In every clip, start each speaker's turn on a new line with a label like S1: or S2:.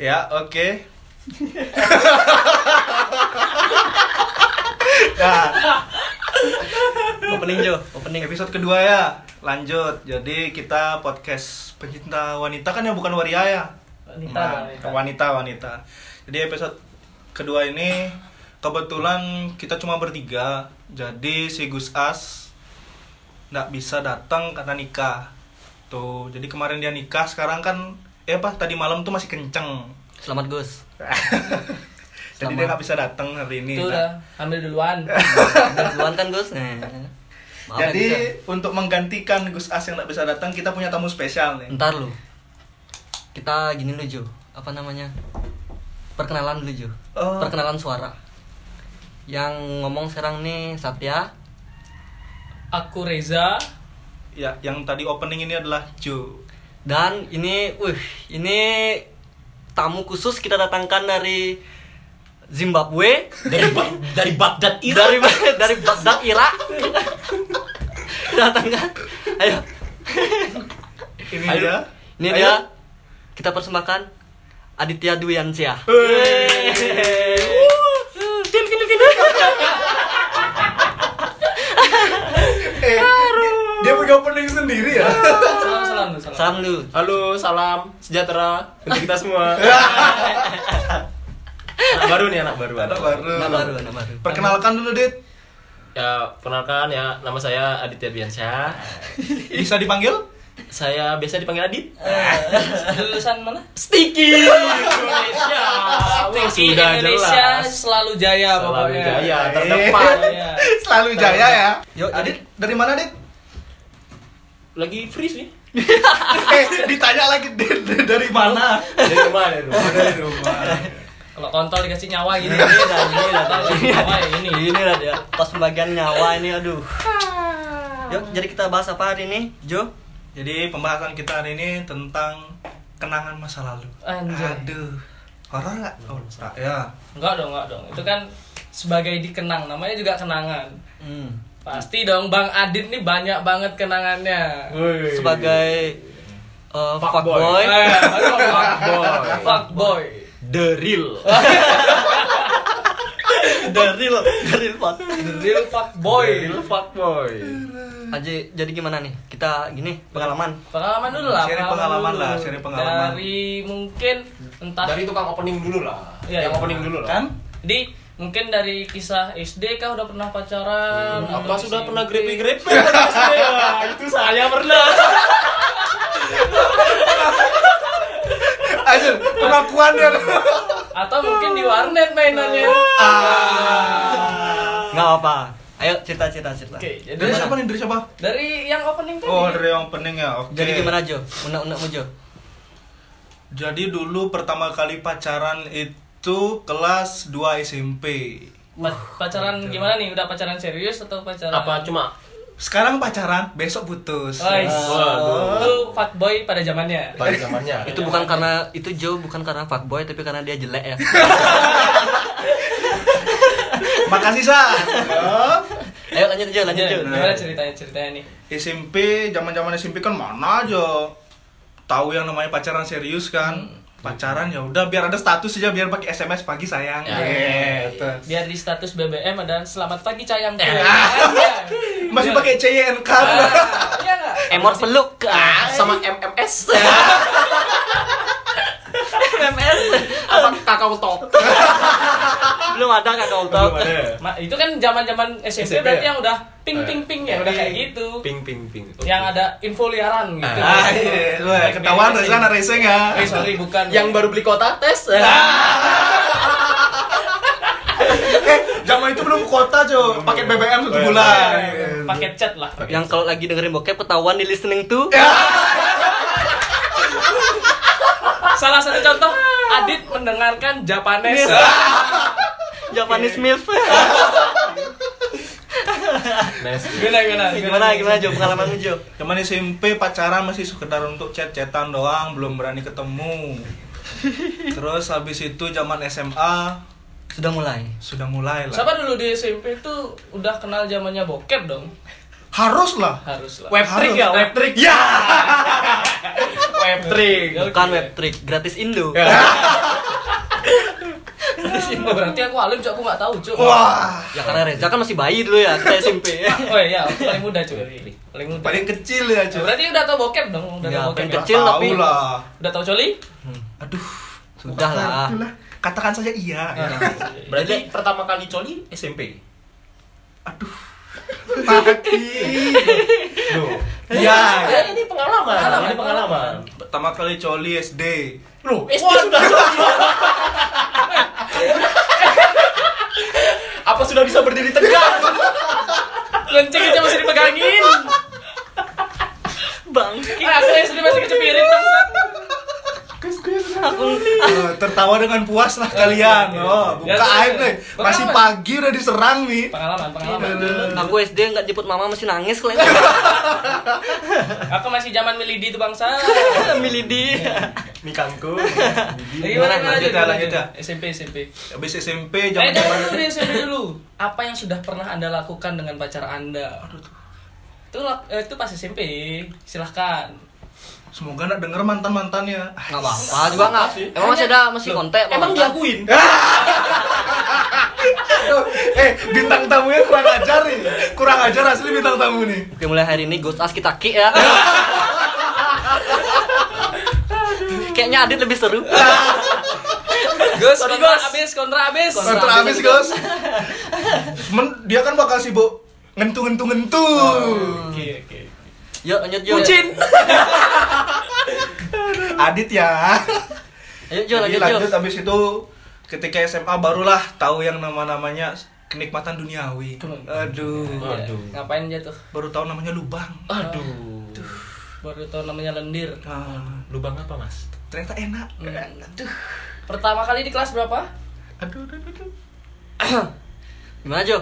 S1: Ya, oke. nah,
S2: opening Jo opening
S1: episode kedua ya. Lanjut. Jadi kita podcast pencinta wanita kan ya bukan waria ya.
S3: Wanita,
S1: Nah,
S3: wanita.
S1: wanita, wanita. Jadi episode kedua ini kebetulan kita cuma bertiga. Jadi si Gus As nggak bisa datang karena nikah. Tuh, jadi kemarin dia nikah, sekarang kan eh apa tadi malam tuh masih kenceng.
S2: selamat Gus
S1: Jadi
S2: Selamat.
S1: dia nggak bisa datang hari ini.
S3: itu
S1: Nah,
S3: udah hamil duluan
S2: duluan kan Gus nah. Maaf ya,
S1: Jadi
S2: Gus,
S1: untuk menggantikan Gus As yang nggak bisa datang, kita punya tamu spesial
S2: ya.
S1: nih.
S2: ntar lu kita gini lu Jo apa namanya perkenalan dulu Jo
S1: Oh.
S2: perkenalan suara yang ngomong sekarang nih Satya
S3: aku Reza
S1: Ya, yang tadi opening ini adalah Jo.
S2: dan ini wih ini tamu khusus kita datangkan dari Zimbabwe
S4: dari Ba- dari Baghdad Irak
S2: dari dari Baghdad Irak datangkan ayo
S1: Ini
S2: Ayo.
S1: dia.
S2: ini
S1: Ayo.
S2: dia kita persembahkan Aditya Dwiansyah
S1: Eh, dia punya opening sendiri ya.
S3: salam salam lu, salam
S2: salam lu
S4: halo salam sejahtera untuk kita semua anak baru nih anak baru
S1: Anak baru.
S2: nama baru nama baru
S1: Perkenalkan dulu, Dit.
S4: ya perkenalkan ya nama saya Aditya Biansyah
S1: Bisa dipanggil?
S4: saya biasa dipanggil Adit
S3: lulusan mana
S4: Sticky Indonesia Wah,
S3: Sticky
S4: sudah
S3: Indonesia
S4: jelas
S3: selalu jaya
S4: selalu
S3: pokoknya
S4: jaya
S1: Eh.
S4: terdepan
S3: Iya.
S1: Selalu jaya ya.
S2: Yuk,
S1: Adit, dari mana, Dit?
S4: lagi freeze nih
S1: Eh, ditanya lagi, Dit, dari mana?
S4: dari rumah dari rumah
S1: Dari rumah.
S3: kalau kontol dikasih nyawa gini
S4: Iya.
S3: ini dah ini dah tahu nyawa ya, ini
S2: ini lah dia pas pembagian nyawa ini aduh yuk jadi kita bahas apa hari ini Jo
S1: Jadi pembahasan kita hari ini tentang kenangan masa lalu.
S3: Anjay.
S1: Aduh. Horor nggak? Oh, tak, ya.
S3: enggak dong enggak dong itu kan sebagai dikenang namanya juga kenangan
S2: hmm.
S3: pasti dong Bang Adit nih banyak banget kenangannya
S2: sebagai uh,
S4: Fuckboy.
S2: fuckboy
S3: Eh, aduh,
S4: Fuckboy.
S3: fuckboy
S4: the real
S2: dari lo dari pot
S3: The real fuckboy
S4: the real fuckboy
S2: aja jadi gimana nih kita gini pengalaman
S3: pengalaman dulu lah
S1: Sharing pengalaman lah,
S3: dulu.
S1: sharing pengalaman.
S3: dari mungkin entah
S4: dari tukang opening dulu lah
S3: Iya,
S4: yang
S3: iya.
S4: opening dulu lah
S1: Kan?
S3: jadi mungkin dari kisah SD kah udah pernah pacaran
S4: Hmm, apa
S3: Atau
S4: sudah
S3: SMP?
S4: pernah grepe-grepe Ya, itu saya pernah
S1: Anjir, pengakuannya.
S3: atau mungkin di warnet mainannya
S1: Ah.
S2: nggak apa ayo cerita cerita cerita
S3: oke jadi
S1: Dari
S3: mana?
S1: siapa nih? Dari siapa?
S3: dari yang opening tadi
S1: Oh, dari yang pening ya. Oke.
S2: jadi gimana Jo unak unakmu Jo
S1: Jadi dulu pertama kali pacaran itu kelas 2 SMP.
S3: Pa- pacaran gimana nih udah pacaran serius atau pacaran
S4: apa cuma
S1: Sekarang pacaran, besok putus.
S3: Wais.
S4: Waduh.
S3: itu fuckboy pada zamannya
S4: pada zamannya
S2: itu bukan karena itu Jo bukan karena fuckboy tapi karena dia jelek ya
S1: Makasih, Sa.
S2: ayo lanjut Jo lanjut Jo
S3: Lanjut, gimana ceritanya ceritanya nih
S1: SMP, zaman-zaman SMP kan mana aja tahu yang namanya pacaran serius kan. Pacaran ya udah biar ada status aja biar pakai SMS pagi sayang.
S4: Ya.
S1: Gitu.
S3: biar di status BBM ada selamat pagi sayang
S1: Masih pakai CYNK.
S3: iya nggak
S2: Emor peluk ah,
S4: sama MMS apa kakao top
S2: belum ada kan kau tahu
S3: Ma, itu kan zaman-zaman SMP,
S4: SMP,
S3: berarti
S4: ya?
S3: yang udah ping ping ping ya udah kayak gitu.
S4: ping ping ping Oke.
S3: Yang ada info liaran gitu.
S1: Ah, iya, lu ya, ketahuan Reza anak racing ya.
S3: Eh, sorry bukan.
S4: yang baru beli kota tes
S1: Eh, zaman itu belum Iya, kuota, Jo. Pakai BBM satu bulan.
S3: Eh, pakai chat lah.
S2: yang kalau lagi dengerin bokep ketahuan di listening tuh
S3: Salah satu contoh Adit mendengarkan Japanese.
S2: Japanese milf
S4: nes
S3: gimana gimana?
S2: gimana gimana Jo pengalamanmu Jo
S1: Zaman SMP pacaran masih sekedar untuk chat-chatan doang, belum berani ketemu. Terus habis itu zaman SMA
S2: sudah mulai
S1: sudah mulai lah.
S3: Siapa dulu di SMP itu udah kenal zamannya bokep dong.
S1: Harus lah.
S3: Harus lah.
S1: Web trick
S3: ya,
S1: web trick. Ya.
S4: Webtrick.
S2: Bukan web trick, gratis Indo.
S3: Oh, berarti aku alim cuk, aku nggak tahu cuk.
S1: Wah,
S2: Ya karena Reza kan masih bayi dulu ya, kita SMP.
S3: Oh iya, aku paling muda cuk. Paling muda.
S1: paling kecil ya
S3: Ya,
S1: cuy.
S3: Berarti udah tau bokep dong, udah
S2: Ya,
S3: tau bokep.
S2: paling
S3: ya?
S2: kecil tapi-
S1: Tahu lah.
S3: Udah tau coli?
S1: Aduh,
S2: Sudah lah.
S1: itulah. Katakan saja iya.
S4: Berarti pertama kali coli SMP.
S1: Mati.
S4: Loh.
S1: Ya.
S4: Ya ini pengalaman,
S3: iya. Pengalaman,
S4: ini pengalaman.
S1: Pertama kali coli SD.
S4: Loh, SD sudah coli. Apa sudah bisa berdiri tegak?
S3: Lenceng aja masih dipegangin.
S2: Bang,
S3: Ah, Aku SD masih kecepirit bangsat.
S1: Eh, tertawa dengan puas lah kalian. Oh, buka
S3: Ya, terus,
S1: aib nih.
S3: pengalaman.
S1: Masih pagi udah diserang nih.
S3: Pengalaman, pengalaman.
S2: aku SD nggak jemput mama masih nangis kalian.
S3: Aku masih zaman milidi itu bangsa.
S2: Milidi.
S4: Mikangku.
S3: Jadi gimana
S2: Lanjut
S3: lanjut,
S1: ya,
S3: lanjut.
S1: lanjut ya.
S3: SMP SMP.
S1: Habis SMP
S3: Eh,
S1: zaman
S3: jangan dulu
S1: zaman
S3: deh, SMP dulu. Apa yang sudah pernah Anda lakukan dengan pacar Anda? Itu lak- eh, itu pas SMP. Silahkan.
S1: Semoga nak denger mantan-mantannya.
S2: Nggak apa-apa juga nggak. Emang masih ada masih kontak. Mama.
S4: Emang Kan diakuin?
S1: eh, bintang tamunya kurang ajar nih. Kurang ajar asli bintang tamu nih.
S2: Oke mulai hari ini Ghost Us kita kick ya. Kayaknya Adit lebih seru.
S3: Gus, kontra habis, kontra habis.
S1: Kontra habis, Gus. Men- dia kan bakal sibuk ngentu-ngentu-ngentu.
S2: Oh.
S3: Oke, Iya. oke.
S2: Yuk lanjut yuk.
S3: Kucin.
S1: Adit ya.
S2: Ayo Jo
S1: Jadi
S2: lanjut Jo.
S1: lanjut habis itu ketika SMA barulah tahu yang nama-namanya kenikmatan duniawi.
S3: Kemen-
S1: Aduh.
S4: Aduh.
S3: Ngapain dia tuh?
S1: Baru tahu namanya lubang.
S2: Oh.
S4: Aduh.
S3: Baru tau namanya lendir.
S1: Ah,
S4: Lubang apa, Mas?
S1: ternyata enak.
S3: Hmm. Aduh. Pertama kali di kelas berapa?
S1: Aduh, aduh, aduh.
S2: Gimana Jo?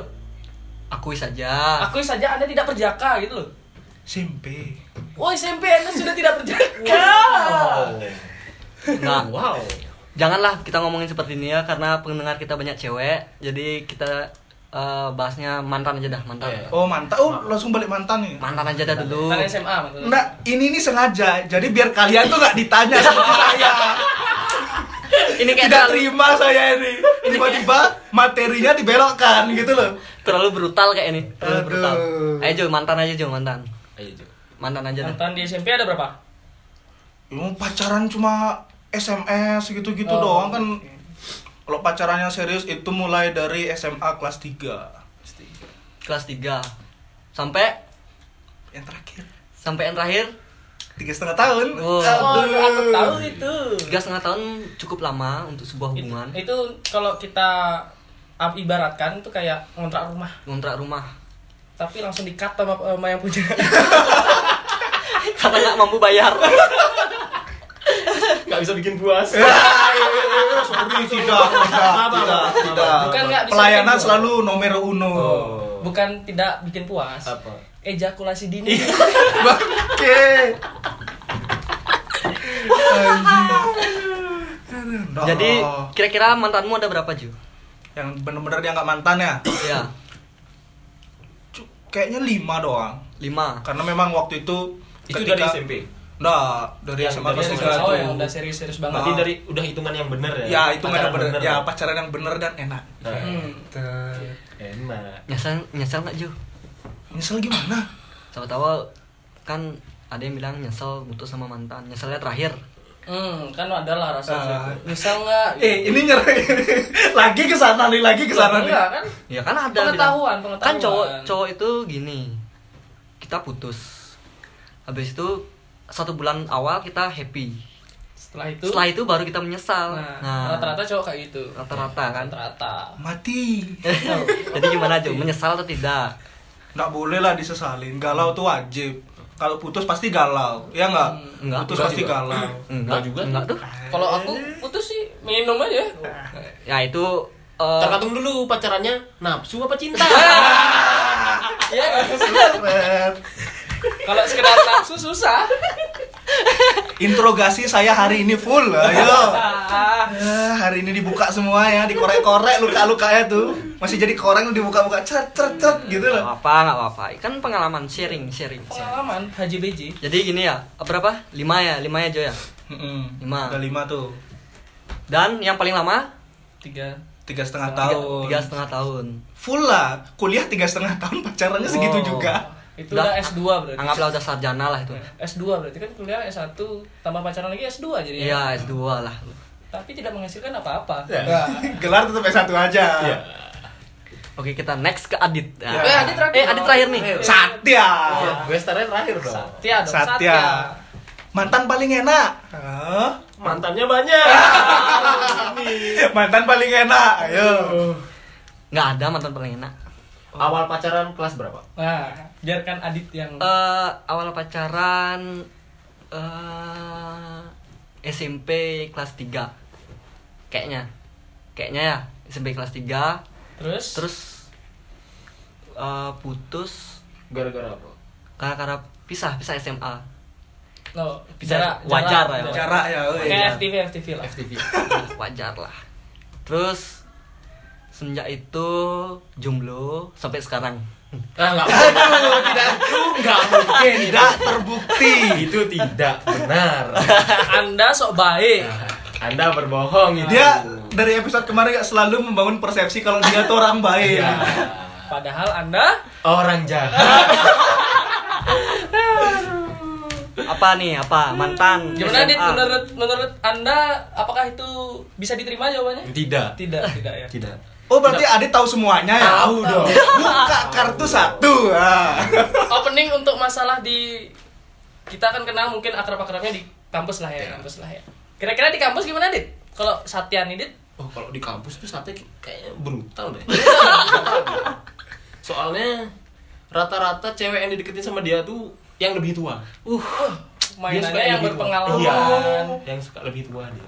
S2: Akui saja.
S3: Aku saja Anda tidak perjaka gitu loh. Oh,
S1: SMP.
S3: Woi SMP Anda sudah tidak perjaka.
S2: Nah,
S4: Wow.
S2: janganlah kita ngomongin seperti ini ya karena pendengar kita banyak cewek. Jadi kita eh, bahasnya mantan aja dah, mantan.
S4: Iya.
S1: Oh, mantan. Oh, langsung balik mantan nih.
S2: Mantan aja dah dulu.
S3: Tanya SMA maksudnya.
S1: Nggak, ini nih sengaja. Jadi biar kalian tuh nggak ditanya seperti saya.
S2: Ini kayak
S1: Tidak
S2: terlalu,
S1: terima saya ini. Tiba-tiba materinya dibelokkan gitu loh.
S2: terlalu brutal kayak ini. Terlalu
S1: Aduh.
S2: brutal. Ayo Jo, mantan aja Jo, mantan.
S4: Ayo, Jo.
S2: Mantan aja dah.
S3: Mantan di SMP ada berapa?
S1: Lu pacaran cuma SMS gitu-gitu
S3: Oh,
S1: doang kan. Kalau pacaran yang serius itu mulai dari SMA kelas 3
S2: Kelas 3. Sampai
S1: yang terakhir
S2: sampai yang terakhir
S1: tiga setengah tahun.
S2: Oh.
S3: Oh,
S1: Aduh.
S3: aku tahu itu.
S2: tiga setengah tahun cukup lama untuk sebuah
S3: Itu,
S2: hubungan
S3: itu kalau kita ap- ibaratkan itu kayak ngontrak rumah,
S2: kontrak rumah
S3: tapi langsung di-cut sama, sama yang punya.
S2: karena nggak mampu bayar
S4: Gak bisa bikin puas.
S1: Eh, Sorry, tidak, tidak, Ya. tidak, tidak. Oh.
S3: Bukan nggak bisa gitu. Oh.
S1: Pelayanan
S3: bikin
S1: selalu nomor uno.
S3: Bukan tidak bikin puas.
S4: Apa?
S3: Ejakulasi dini.
S1: Oke.
S2: jadi
S3: Oh.
S2: kira-kira mantanmu ada berapa Ju?
S1: yang bener-bener dia nggak mantan ya?
S2: ya
S1: Cu- Kayaknya lima doang.
S2: lima
S1: Karena memang waktu itu
S4: Itu
S1: ketika-
S4: dari SMP.
S1: Nah, dari
S4: Yang
S1: SMA
S4: dari
S1: kelas
S4: SMA.
S1: tiga
S3: Oh,
S1: tuh.
S3: ya, udah serius-serius banget.
S4: Berarti dari udah hitungan yang benar ya.
S1: Ya, itu nggak ada
S4: Pacaran
S1: bener.
S4: bener.
S1: Ya, pacaran yang bener dan enak. Gitu.
S4: Nah,
S3: Hmm.
S4: Enak.
S2: nyesel nyesel nggak Ju?
S1: Nyesel gimana?
S2: tahu-tahu kan ada yang bilang nyesel butuh sama mantan nyeselnya terakhir
S3: Hmm, kan ada lah rasa
S1: Ah.
S3: gitu. Misal nggak?
S1: Eh, ini nyerah lagi ke sana nih, lagi ke sana nih.
S3: Enggak kan?
S2: ya kan ada bilang.
S3: Pengetahuan, pengetahuan.
S2: kan cowok cowok itu gini kita putus habis itu satu bulan awal kita happy
S3: Setelah itu,
S2: setelah itu baru kita menyesal
S3: nah,
S2: nah
S3: rata-rata cowok kayak gitu.
S2: rata-rata kan
S3: Rata-rata.
S1: Mati.
S2: Jadi gimana Jo? Menyesal atau tidak?
S1: Nggak boleh lah disesalin. Galau tuh wajib. Kalau putus pasti galau. Ya nggak?
S2: Enggak.
S1: Putus
S4: Enggak
S1: pasti
S4: juga.
S1: galau.
S4: Enggak juga.
S2: Enggak tuh.
S3: Kalau aku putus sih minum aja.
S2: Ya itu eh,
S4: Tergantung dulu pacarannya nafsu apa cinta.
S3: Iya. kan?
S1: Keren.
S3: Kalau sekedar nafsu susah.
S1: Interogasi saya hari ini full. Ayo. Ah, hari ini dibuka semua ya, dikorek-korek luka-lukanya tuh. Masih jadi koreng dibuka-buka cet cet cet gitu
S2: Gak
S1: loh.
S2: apa, gak apa. Kan pengalaman sharing, sharing. sharing.
S3: Pengalaman HJBJ.
S2: Jadi gini ya, berapa? 5 ya, 5 ya Jo ya.
S1: Mm-mm.
S2: Lima.
S1: Udah lima tuh.
S2: Dan yang paling lama
S3: Tiga.
S1: Tiga setengah
S2: tiga-
S1: tahun.
S2: tiga setengah tahun.
S1: Full lah. Kuliah tiga setengah tahun pacarannya segitu
S2: Wow.
S1: juga.
S3: Itu
S2: Udah,
S3: udah S2 berarti.
S2: Anggaplah udah sarjana lah itu.
S3: S2 berarti kan kuliah S1 tambah pacaran lagi S2 jadi ya.
S2: Iya, S2 lah.
S3: Tapi tidak menghasilkan apa-apa.
S4: Ya.
S1: Nah, Gelar tetap S1 aja.
S4: Iya.
S2: Oke, kita next ke Adit.
S1: Ya.
S3: Eh, Adit terakhir
S2: Eh, Adit
S3: dong.
S2: terakhir nih.
S3: Ayo.
S1: Satya.
S2: Iya.
S4: Ya, Gue startnya terakhir dong.
S3: Satya dong, Satya.
S1: Satya. Mantan paling enak. Hah?
S4: Mantannya banyak.
S1: Mantan paling enak. Ayo.
S2: Nggak ada mantan paling enak.
S4: Awal pacaran kelas berapa?
S3: Nah, biarkan Adit yang
S2: Eh, awal pacaran eh SMP kelas 3. Kayaknya. Kayaknya ya, SMP kelas 3.
S3: terus
S2: Terus eh, putus
S4: Gara-gara apa?
S2: karena karena pisah, pisah SMA.
S3: no,
S2: Bisa
S3: jarak,
S2: wajar ya,
S3: jarak.
S1: Jarak ya. woi.
S3: Kayak FTV FTV lah.
S4: FTV.
S2: Wajar lah. Terus semenjak itu jomblo sampai sekarang.
S4: Ah, nggak mungkin. tidak, nggak mungkin.
S1: Tidak terbukti.
S4: Itu tidak benar.
S3: Anda sok baik.
S2: Nah.
S4: Anda berbohong itu.
S1: Dia dari episode kemarin gak selalu membangun persepsi kalau dia tuh orang baik.
S4: Iya.
S3: Padahal Anda
S4: orang jahat.
S2: Apa nih? Apa? Mantan.
S3: gimana Adit
S2: SMA.
S3: menurut menurut Anda apakah itu bisa diterima jawabannya?
S4: Tidak.
S3: Tidak, tidak ya.
S4: Tidak.
S1: Oh berarti Adit tahu semuanya ya?
S4: Tahu dong.
S1: Buka kartu satu. Ah.
S3: opening untuk masalah di kita akan kenal mungkin akrab-akrabnya di kampus lah ya, kampus lah ya. Kira-kira di kampus gimana, Dit? Kalau Satyan ini, Dit?
S4: Oh, kalau di kampus tuh sate kayaknya brutal deh. Soalnya rata-rata cewek yang dideketin sama dia tuh yang lebih tua.
S2: Uh,
S3: mainannya
S4: suka
S3: yang
S4: lebih tua.
S3: berpengalaman.
S4: Iya, yang suka lebih tua dia.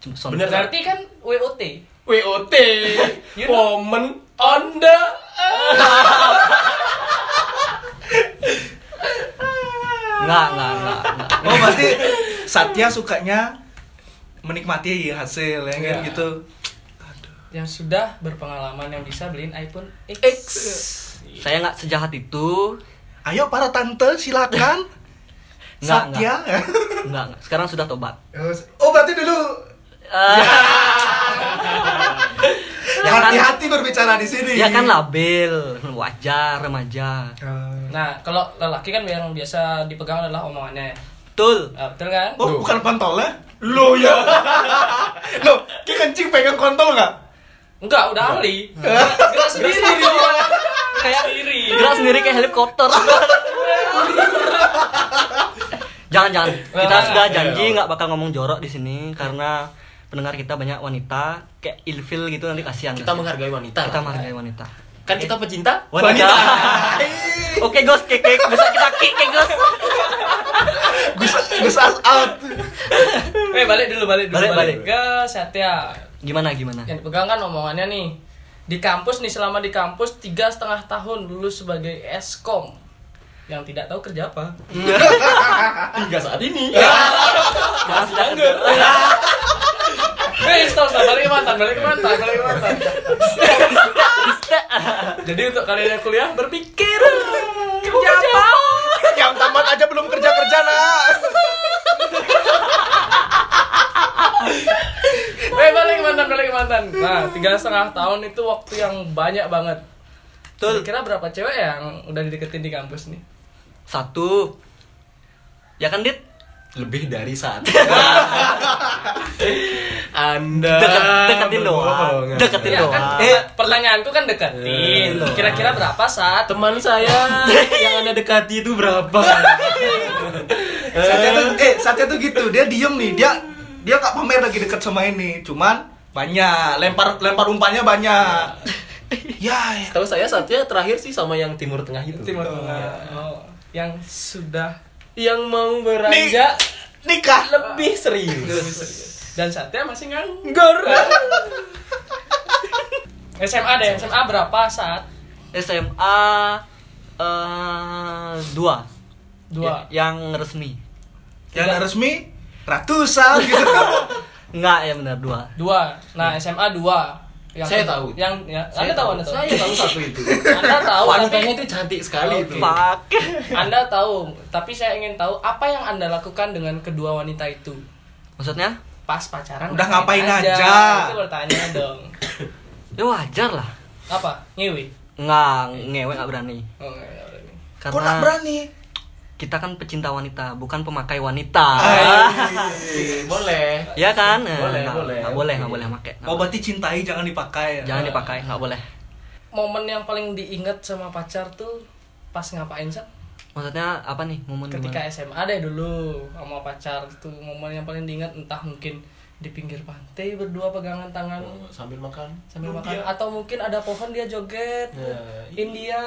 S2: cuma son-
S4: Bener.
S3: Berarti kan WOT.
S4: WOT,
S3: You know.
S4: woman on the
S2: Nggak, nggak, nggak, nggak.
S1: Oh berarti Satya sukanya menikmati hasil ya kan
S3: Iya.
S1: gitu.
S3: Yang sudah berpengalaman yang bisa beliin iPhone X.
S1: X.
S2: Saya nggak sejahat itu.
S1: Ayo para tante silakan.
S2: Nggak,
S1: Satya.
S2: Nggak, nggak. Sekarang sudah tobat.
S1: Oh berarti dulu
S2: Eh, Ya kan?
S1: hati-hati berbicara di sini.
S2: ya kan label, wajar, remaja.
S1: Eh,
S3: Nah, kalau lelaki kan yang biasa dipegang adalah omongannya. ya.
S2: Betul.
S3: Ah, betul kan?
S1: oh bukan kontolnya? Lo ya. Lo, ki kencing pegang kontol nggak?
S3: Enggak, udah ahli. Gerak gerak sendiri dia. Kayak sendiri.
S2: Gerak sendiri kayak helikopter. jangan, jangan. Kita sudah janji nggak bakal ngomong jorok di sini karena pendengar kita banyak wanita kayak ilfil gitu nanti kasihan
S4: Kita
S2: kasihan.
S4: menghargai wanita.
S2: kita
S4: lah.
S2: menghargai wanita
S4: Kan kita pecinta
S2: wanita, oke gos kekek bisa kita kekek gos
S1: Gus Gus As out.
S3: Eh, balik dulu, balik dulu.
S2: Balik, balik.
S3: ke Satya.
S2: gimana gimana
S3: yang dipegang kan omongannya nih di kampus nih selama di kampus tiga setengah tahun dulu sebagai eskom yang tidak tahu kerja apa
S4: hingga saat ini.
S2: Jangan sudah
S3: Wih, stop, stop, balik ke mantan, balik ke mantan, balik ke mantan Jadi untuk kalian yang kuliah, berpikir Kerja apa?
S1: Yang tamat aja belum kerja kerja nak.
S3: Weh, Eh, balik ke mantan, balik ke mantan Nah, tiga setengah tahun itu waktu yang banyak banget Tuh, kira berapa cewek yang udah dideketin di kampus nih?
S2: satu ya kan dit
S4: Lebih dari satu. Anda
S2: Deket- deketin doang.
S4: berbohong.
S2: Deketin
S3: Ya, kan,
S2: Wah.
S3: eh, pertanyaanku kan deketin
S4: Eh.
S3: Kira-kira berapa saat?
S4: Teman saya yang Anda dekati itu berapa?
S1: Satya tuh, eh Satya tuh gitu. Dia diem nih. Dia dia nggak pamer lagi deket sama ini. Cuman banyak lempar lempar umpannya banyak. Ya, ya.
S4: Tahu saya saatnya terakhir sih sama yang Timur Tengah itu. Ya.
S3: Timur
S4: Iya.
S3: Tengah. Oh, yang sudah
S4: Yang mau beranjak
S1: nikah.
S4: lebih serius.
S3: dan saatnya masih nganggur.
S4: Gor.
S3: SMA deh, SMA berapa saat?
S2: SMA eh dua
S3: Dua.
S4: Iya.
S2: Ya- yang resmi
S1: yang
S3: Enggak.
S1: resmi ratusan gitu
S2: Enggak ya benar dua.
S3: Dua. Nah, SMA dua. Yang
S4: Saya tahu.
S3: Yang ya, Anda tahu, Anda tahu.
S4: Saya tahu satu itu.
S3: Anda tahu
S4: Wanitanya
S3: tapi
S4: itu cantik sekali itu.
S2: Fuck.
S3: Anda tahu, tapi saya ingin tahu apa yang Anda lakukan dengan kedua wanita itu?
S2: Maksudnya?
S3: Pas pacaran
S1: Udah ngapain aja?
S3: Itu bertanya dong.
S2: Ya wajar lah.
S3: Apa? Ngewe.
S2: Enggak, ngewe enggak berani.
S3: Oh, nggak, nggak berani.
S1: kok nak
S2: Karena
S1: berani
S2: kita kan pecinta wanita, bukan pemakai wanita.
S4: Boleh.
S2: Ya kan? Eh,
S4: Boleh,
S2: nggak-
S4: boleh.
S2: nggak boleh, nggak boleh pakai.
S1: oh berarti cintai jangan dipakai ya?
S2: Jangan dipakai, nggak boleh.
S3: Momen yang paling diingat sama pacar tuh pas ngapain sih?
S2: Maksudnya apa nih momen
S3: Ketika
S2: gimana?
S3: SMA deh dulu sama pacar tuh momen yang paling diingat entah mungkin di pinggir pantai berdua pegangan tangan
S4: Oh, Sambil makan.
S3: sambil makan atau mungkin ada pohon dia joget
S4: Ya,
S3: India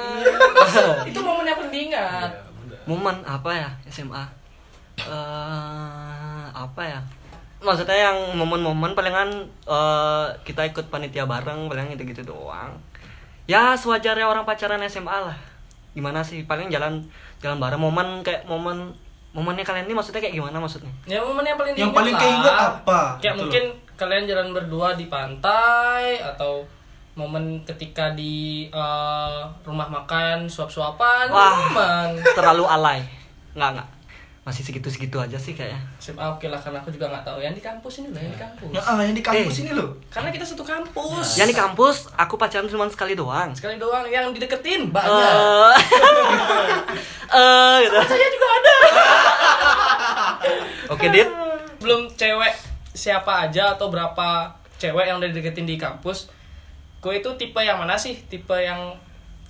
S3: itu momen yang paling diingat
S4: Ya, benar.
S2: Momen apa ya SMA? eh apa ya? Maksudnya yang momen-momen palingan eh, kita ikut panitia bareng, paling gitu-gitu doang. Ya sewajarnya orang pacaran SMA lah. Gimana sih? Paling jalan jalan bareng momen kayak momen momennya kalian ini maksudnya kayak gimana maksudnya?
S3: Ya momen yang paling
S1: Yang
S3: diingat
S1: paling
S3: lah.
S1: keinget apa?
S3: Kayak
S1: Gitu
S3: mungkin kalian jalan berdua di pantai atau momen ketika di eh, rumah makan suap-suapan
S2: Wah.
S3: momen
S2: Terlalu alay. Nggak, nggak. Masih segitu-segitu aja sih kayaknya.
S3: SMA ah, oke lah karena aku juga nggak tahu yang di kampus ini lah yang di kampus
S1: Ya, ah, yang di kampus
S2: Eh.
S1: ini loh
S3: karena kita satu kampus
S2: Yang Ya, di kampus aku pacaran cuma sekali doang.
S3: sekali doang yang dideketin banyak
S2: Eh, eh, gitu.
S3: saya juga ada
S2: Oke, Dit.
S3: belum cewek siapa aja atau berapa cewek yang udah dideketin di kampus gue itu tipe yang mana sih tipe yang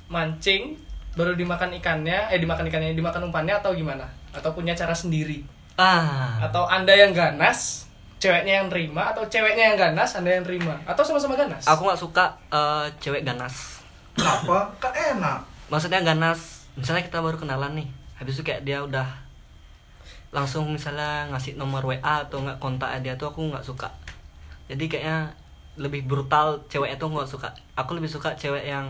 S3: mancing baru dimakan ikannya eh dimakan ikannya dimakan umpannya atau gimana atau punya cara sendiri
S2: Ah,
S3: atau anda yang ganas ceweknya yang terima atau ceweknya yang ganas anda yang terima atau sama-sama ganas
S2: aku nggak suka eh, cewek ganas.
S1: kenapa kan enak
S2: Maksudnya ganas, misalnya kita baru kenalan nih. Habis itu kayak dia udah langsung misalnya ngasih nomor WA atau nggak kontak dia tuh aku nggak suka. Jadi kayaknya lebih brutal cewek itu nggak suka. Aku lebih suka cewek yang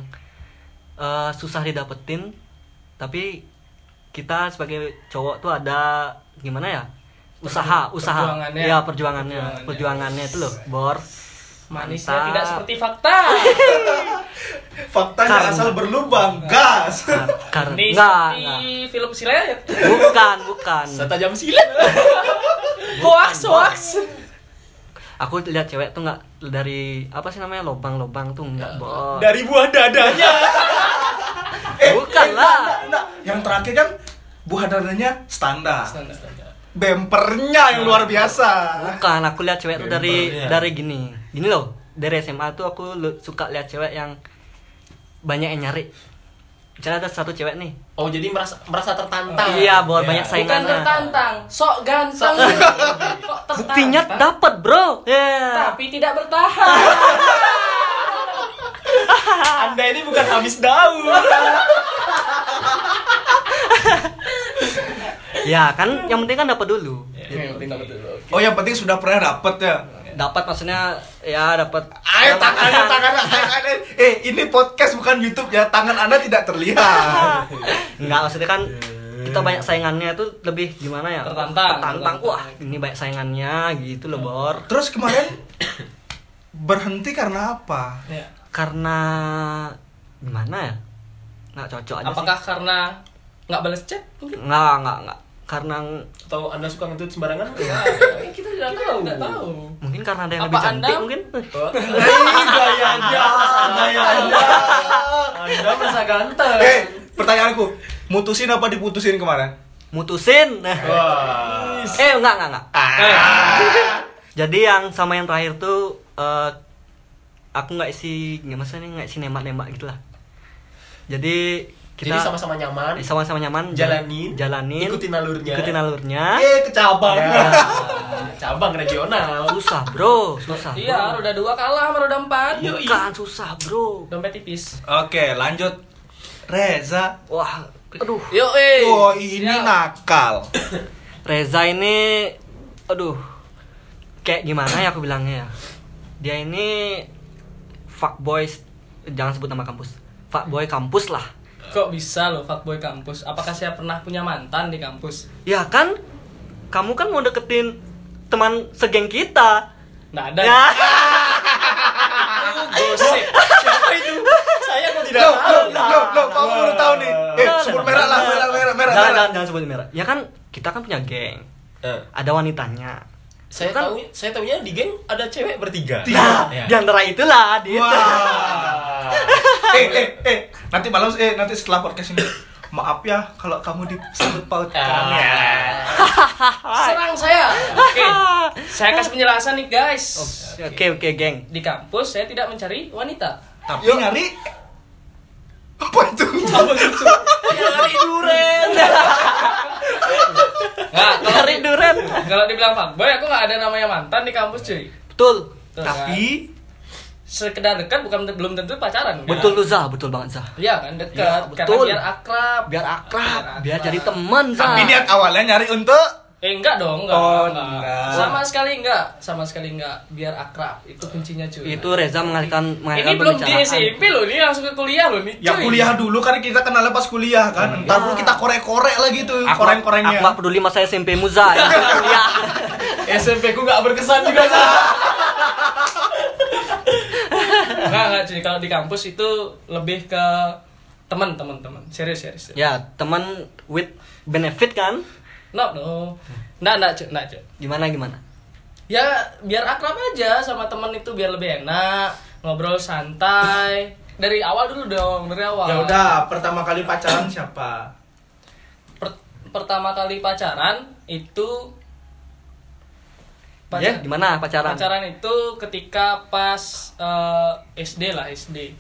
S2: eh, susah didapetin tapi kita sebagai cowok tuh ada gimana ya? usaha, usaha.
S3: perjuangannya.
S2: Iya, perjuangannya.
S3: Perjuangannya.
S2: Perjuangannya itu loh, Bor.
S3: manisnya
S2: Mantap.
S3: tidak seperti fakta
S1: faktanya
S2: Karena.
S1: asal berlubang gas
S2: Kar- Karena
S3: ini
S2: enggak, enggak.
S3: seperti film silet
S2: Bukan, bukan.
S4: Setajam silet.
S3: hoax hoax
S2: Aku lihat cewek tuh nggak dari apa sih namanya lobang-lobang tuh nggak, Bor.
S4: Dari buah dadanya.
S2: Bukan lah.
S1: Eh, Enggak, yang terakhir kan buah dadanya standar
S3: Standar, standar.
S1: bempernya yang luar biasa
S2: Bukan, aku lihat cewek tuh dari
S1: iya.
S4: Gembelnya.
S2: dari gini. Gini loh, dari SMA tuh aku lu- suka lihat cewek yang banyak yang nyari. Misalnya ada satu cewek nih.
S4: Oh, jadi merasa merasa tertantang.
S2: Iya, Bor,
S4: Ya.
S2: banyak
S3: Bukan
S2: saingannya.
S3: tertantang, sok ganteng. Kok tertantang?
S2: Buktinya dapat, Bro. Ya.
S3: tapi tidak bertahan.
S4: Anda ini bukan habis daun.
S2: Ya, kan yang penting kan dapat dulu.
S4: Iya,
S1: Oh yang penting sudah pernah dapet ya.
S2: Dapat maksudnya ya dapat.
S1: Ayo ya, tangannya, tangannya, tangannya. Eh ini podcast bukan YouTube ya, tangan anda tidak terlihat.
S2: Enggak, maksudnya kan kita banyak saingannya itu lebih gimana ya?
S3: Tertantang.
S2: Tertantang. Wah, ini banyak saingannya gitu loh, Bor.
S1: Terus kemarin berhenti karena apa?
S3: Ya.
S2: Karena gimana ya? Nggak cocok aja
S3: Apakah
S2: sih.
S3: karena nggak balas chat? Mungkin.
S2: Nggak, nggak, nggak. Karena
S4: Atau Anda suka ngentut sembarangan?
S3: Eh, kita tidak tahu. Tidak tahu.
S2: mungkin karena ada yang
S3: Apa
S2: lebih cantik
S3: Anda-
S2: mungkin. Eh,
S4: Ih, gayanya, gayanya. Anda merasa ganteng.
S1: Eh pertanyaanku, mutusin apa diputusin kemarin?
S2: Mutusin.
S4: Wah.
S2: eh, enggak, enggak, enggak.
S1: Ah.
S2: Eh. Jadi yang sama yang terakhir tuh eh, aku nggak isi nggak maksudnya nggak isi nembak-nembak gitu lah. Jadi kita
S4: Jadi sama-sama nyaman.
S2: Eh, sama-sama nyaman
S4: Jalanin.
S2: jalanin
S4: Ikutin alurnya.
S2: ikutin alurnya Ya.
S1: Eh kecabang.
S4: Cabang regional.
S2: susah bro susah bro.
S3: Iya, roda dua kalah sama roda empat.
S2: bukan susah bro
S3: Dompet tipis.
S1: Oke lanjut Reza.
S2: wah aduh
S3: Yo, eh.
S1: Oh ini nakal.
S2: Reza ini aduh kayak gimana ya aku bilangnya ya dia ini fuckboy jangan sebut nama kampus fuckboy kampus lah
S3: Kok bisa loh fuckboy kampus? Apakah saya pernah punya mantan di kampus?
S2: ya kan kamu kan mau deketin teman segeng kita
S3: Nggak ada.
S2: ya
S1: Eh,
S3: Itu gosip.
S4: Siapa itu? Saya kok tidak
S1: Loh,
S4: tahu.
S1: loh, loh, loh, kamu baru tahu nih. Eh, sebut merah lah, merah, merah, merah.
S2: jangan,
S1: merah.
S2: jangan jangan sebut merah ya kan kita kan punya geng
S4: Eh,
S2: ada wanitanya
S4: saya
S2: Kan-
S4: tahu saya tahunya di geng ada cewek bertiga.
S2: nah
S3: Iya.
S4: Ya.
S2: di antara itulah dia
S1: Wah. Gitu. eh, eh, eh, nanti malam eh nanti setelah podcast ini. Maaf ya kalau kamu disebut pautkan ya.
S3: Serang saya. Oke. Saya kasih penjelasan nih, guys.
S1: Oh,
S2: oke oke geng
S3: Di kampus saya tidak mencari wanita.
S1: Tapi nyari apa itu?
S4: Nyari duren.
S3: Nah, kalau
S2: cari duren
S3: kalau dibilang fuckboy, aku nggak ada namanya mantan di kampus, cuy.
S2: betul
S3: Betul,
S1: Tapi
S3: Sekedar dekat bukan belum tentu pacaran. kan?
S2: betul tuh Zah betul banget Zah
S3: Iya kan dekat,
S2: Iya,
S3: karena
S2: betul.
S3: biar akrab.
S2: biar akrab biar
S3: akrab.
S2: jadi teman Zah
S1: Nah. tapi niat awalnya nyari untuk
S3: Eh enggak dong, enggak.
S1: Oh,
S3: enggak.
S1: enggak.
S3: Sama sekali enggak, sama sekali enggak. Biar akrab, itu kuncinya cuy.
S2: itu Reza mengalihkan
S3: Ini
S2: mengalihkan
S3: belum di
S2: pembicaraan.
S3: SMP loh, ini langsung ke kuliah loh nih.
S1: ya
S3: cuy.
S1: kuliah dulu kan kita kenalnya pas kuliah kan. Entar pun kita korek-korek lagi tuh
S2: Aku-
S1: koreng-korengnya.
S2: Aku gak peduli masa SMP Muza. Ya, kuliah.
S4: SMP ku gak berkesan juga Zah.
S3: Enggak, enggak cuy. Kalau di kampus itu lebih ke teman, teman, teman. Serius, serius.
S2: ya, teman with benefit kan?
S3: No, no. Enggak, enggak, cuy. Enggak, cuy.
S2: Gimana gimana?
S3: Ya biar akrab aja sama teman itu biar lebih enak, ngobrol santai. Dari awal dulu dong, dari awal.
S1: Ya udah, pertama kali pacaran siapa?
S3: Per- pertama kali pacaran itu
S2: Ya, gimana pacaran?
S3: pacaran itu ketika pas eh, SD lah SD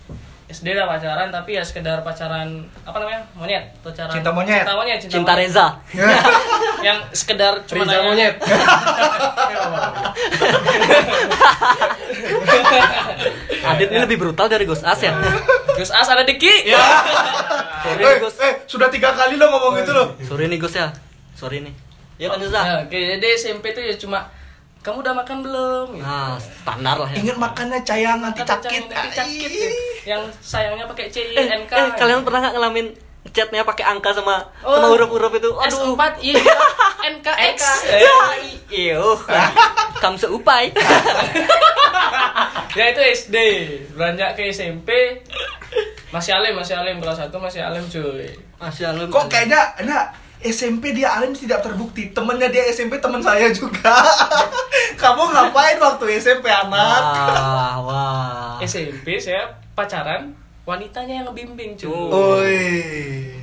S3: SD udah pacaran tapi ya sekedar pacaran apa namanya monyet pacaran
S1: Cinta monyet.
S3: cinta monyet cinta,
S2: Cinta
S3: monyet.
S2: Reza.
S1: Ya.
S3: yang sekedar cuma
S4: Riza
S3: nanya-
S4: monyet.
S2: Adit ini lebih brutal dari Gus As ya.
S3: Gus As ada Diki
S1: Iya.
S2: Sorry
S1: eh,
S2: nih Gus.
S1: eh, sudah tiga kali lo ngomong gitu itu lo.
S2: Sorry nih Gus ya. Sorry nih. Iya kan, Yuk lanjut Zah.
S3: Nah, oke jadi SMP tuh ya cuma kamu udah makan belum Kan Gitu.
S2: Nah, standar lah ya.
S1: Ingat makannya cayang nanti
S3: Kata
S1: cakit. Ah, iya.
S3: Cang, nanti cakit ya. yang sayangnya pakai C I
S2: Eh,
S3: N K ya.
S2: eh, kalian pernah nggak ngalamin chatnya pakai angka sama
S3: Oh.
S2: sama huruf-huruf itu?
S3: S
S2: Aduh.
S3: empat I N K X iya.
S2: Iyo. Kamu seupai.
S3: ya itu SD beranjak ke SMP masih alim masih alim kelas satu masih alim cuy
S2: Masih alum.
S1: Kok kayaknya nah, enggak SMP dia alim tidak terbukti. Temennya dia SMP teman saya juga. Kamu ngapain waktu SMP anak?
S2: Nah. Wah, wah.
S3: SMP saya pacaran wanitanya yang ngebimbing cuy
S2: Oh.
S1: Oi.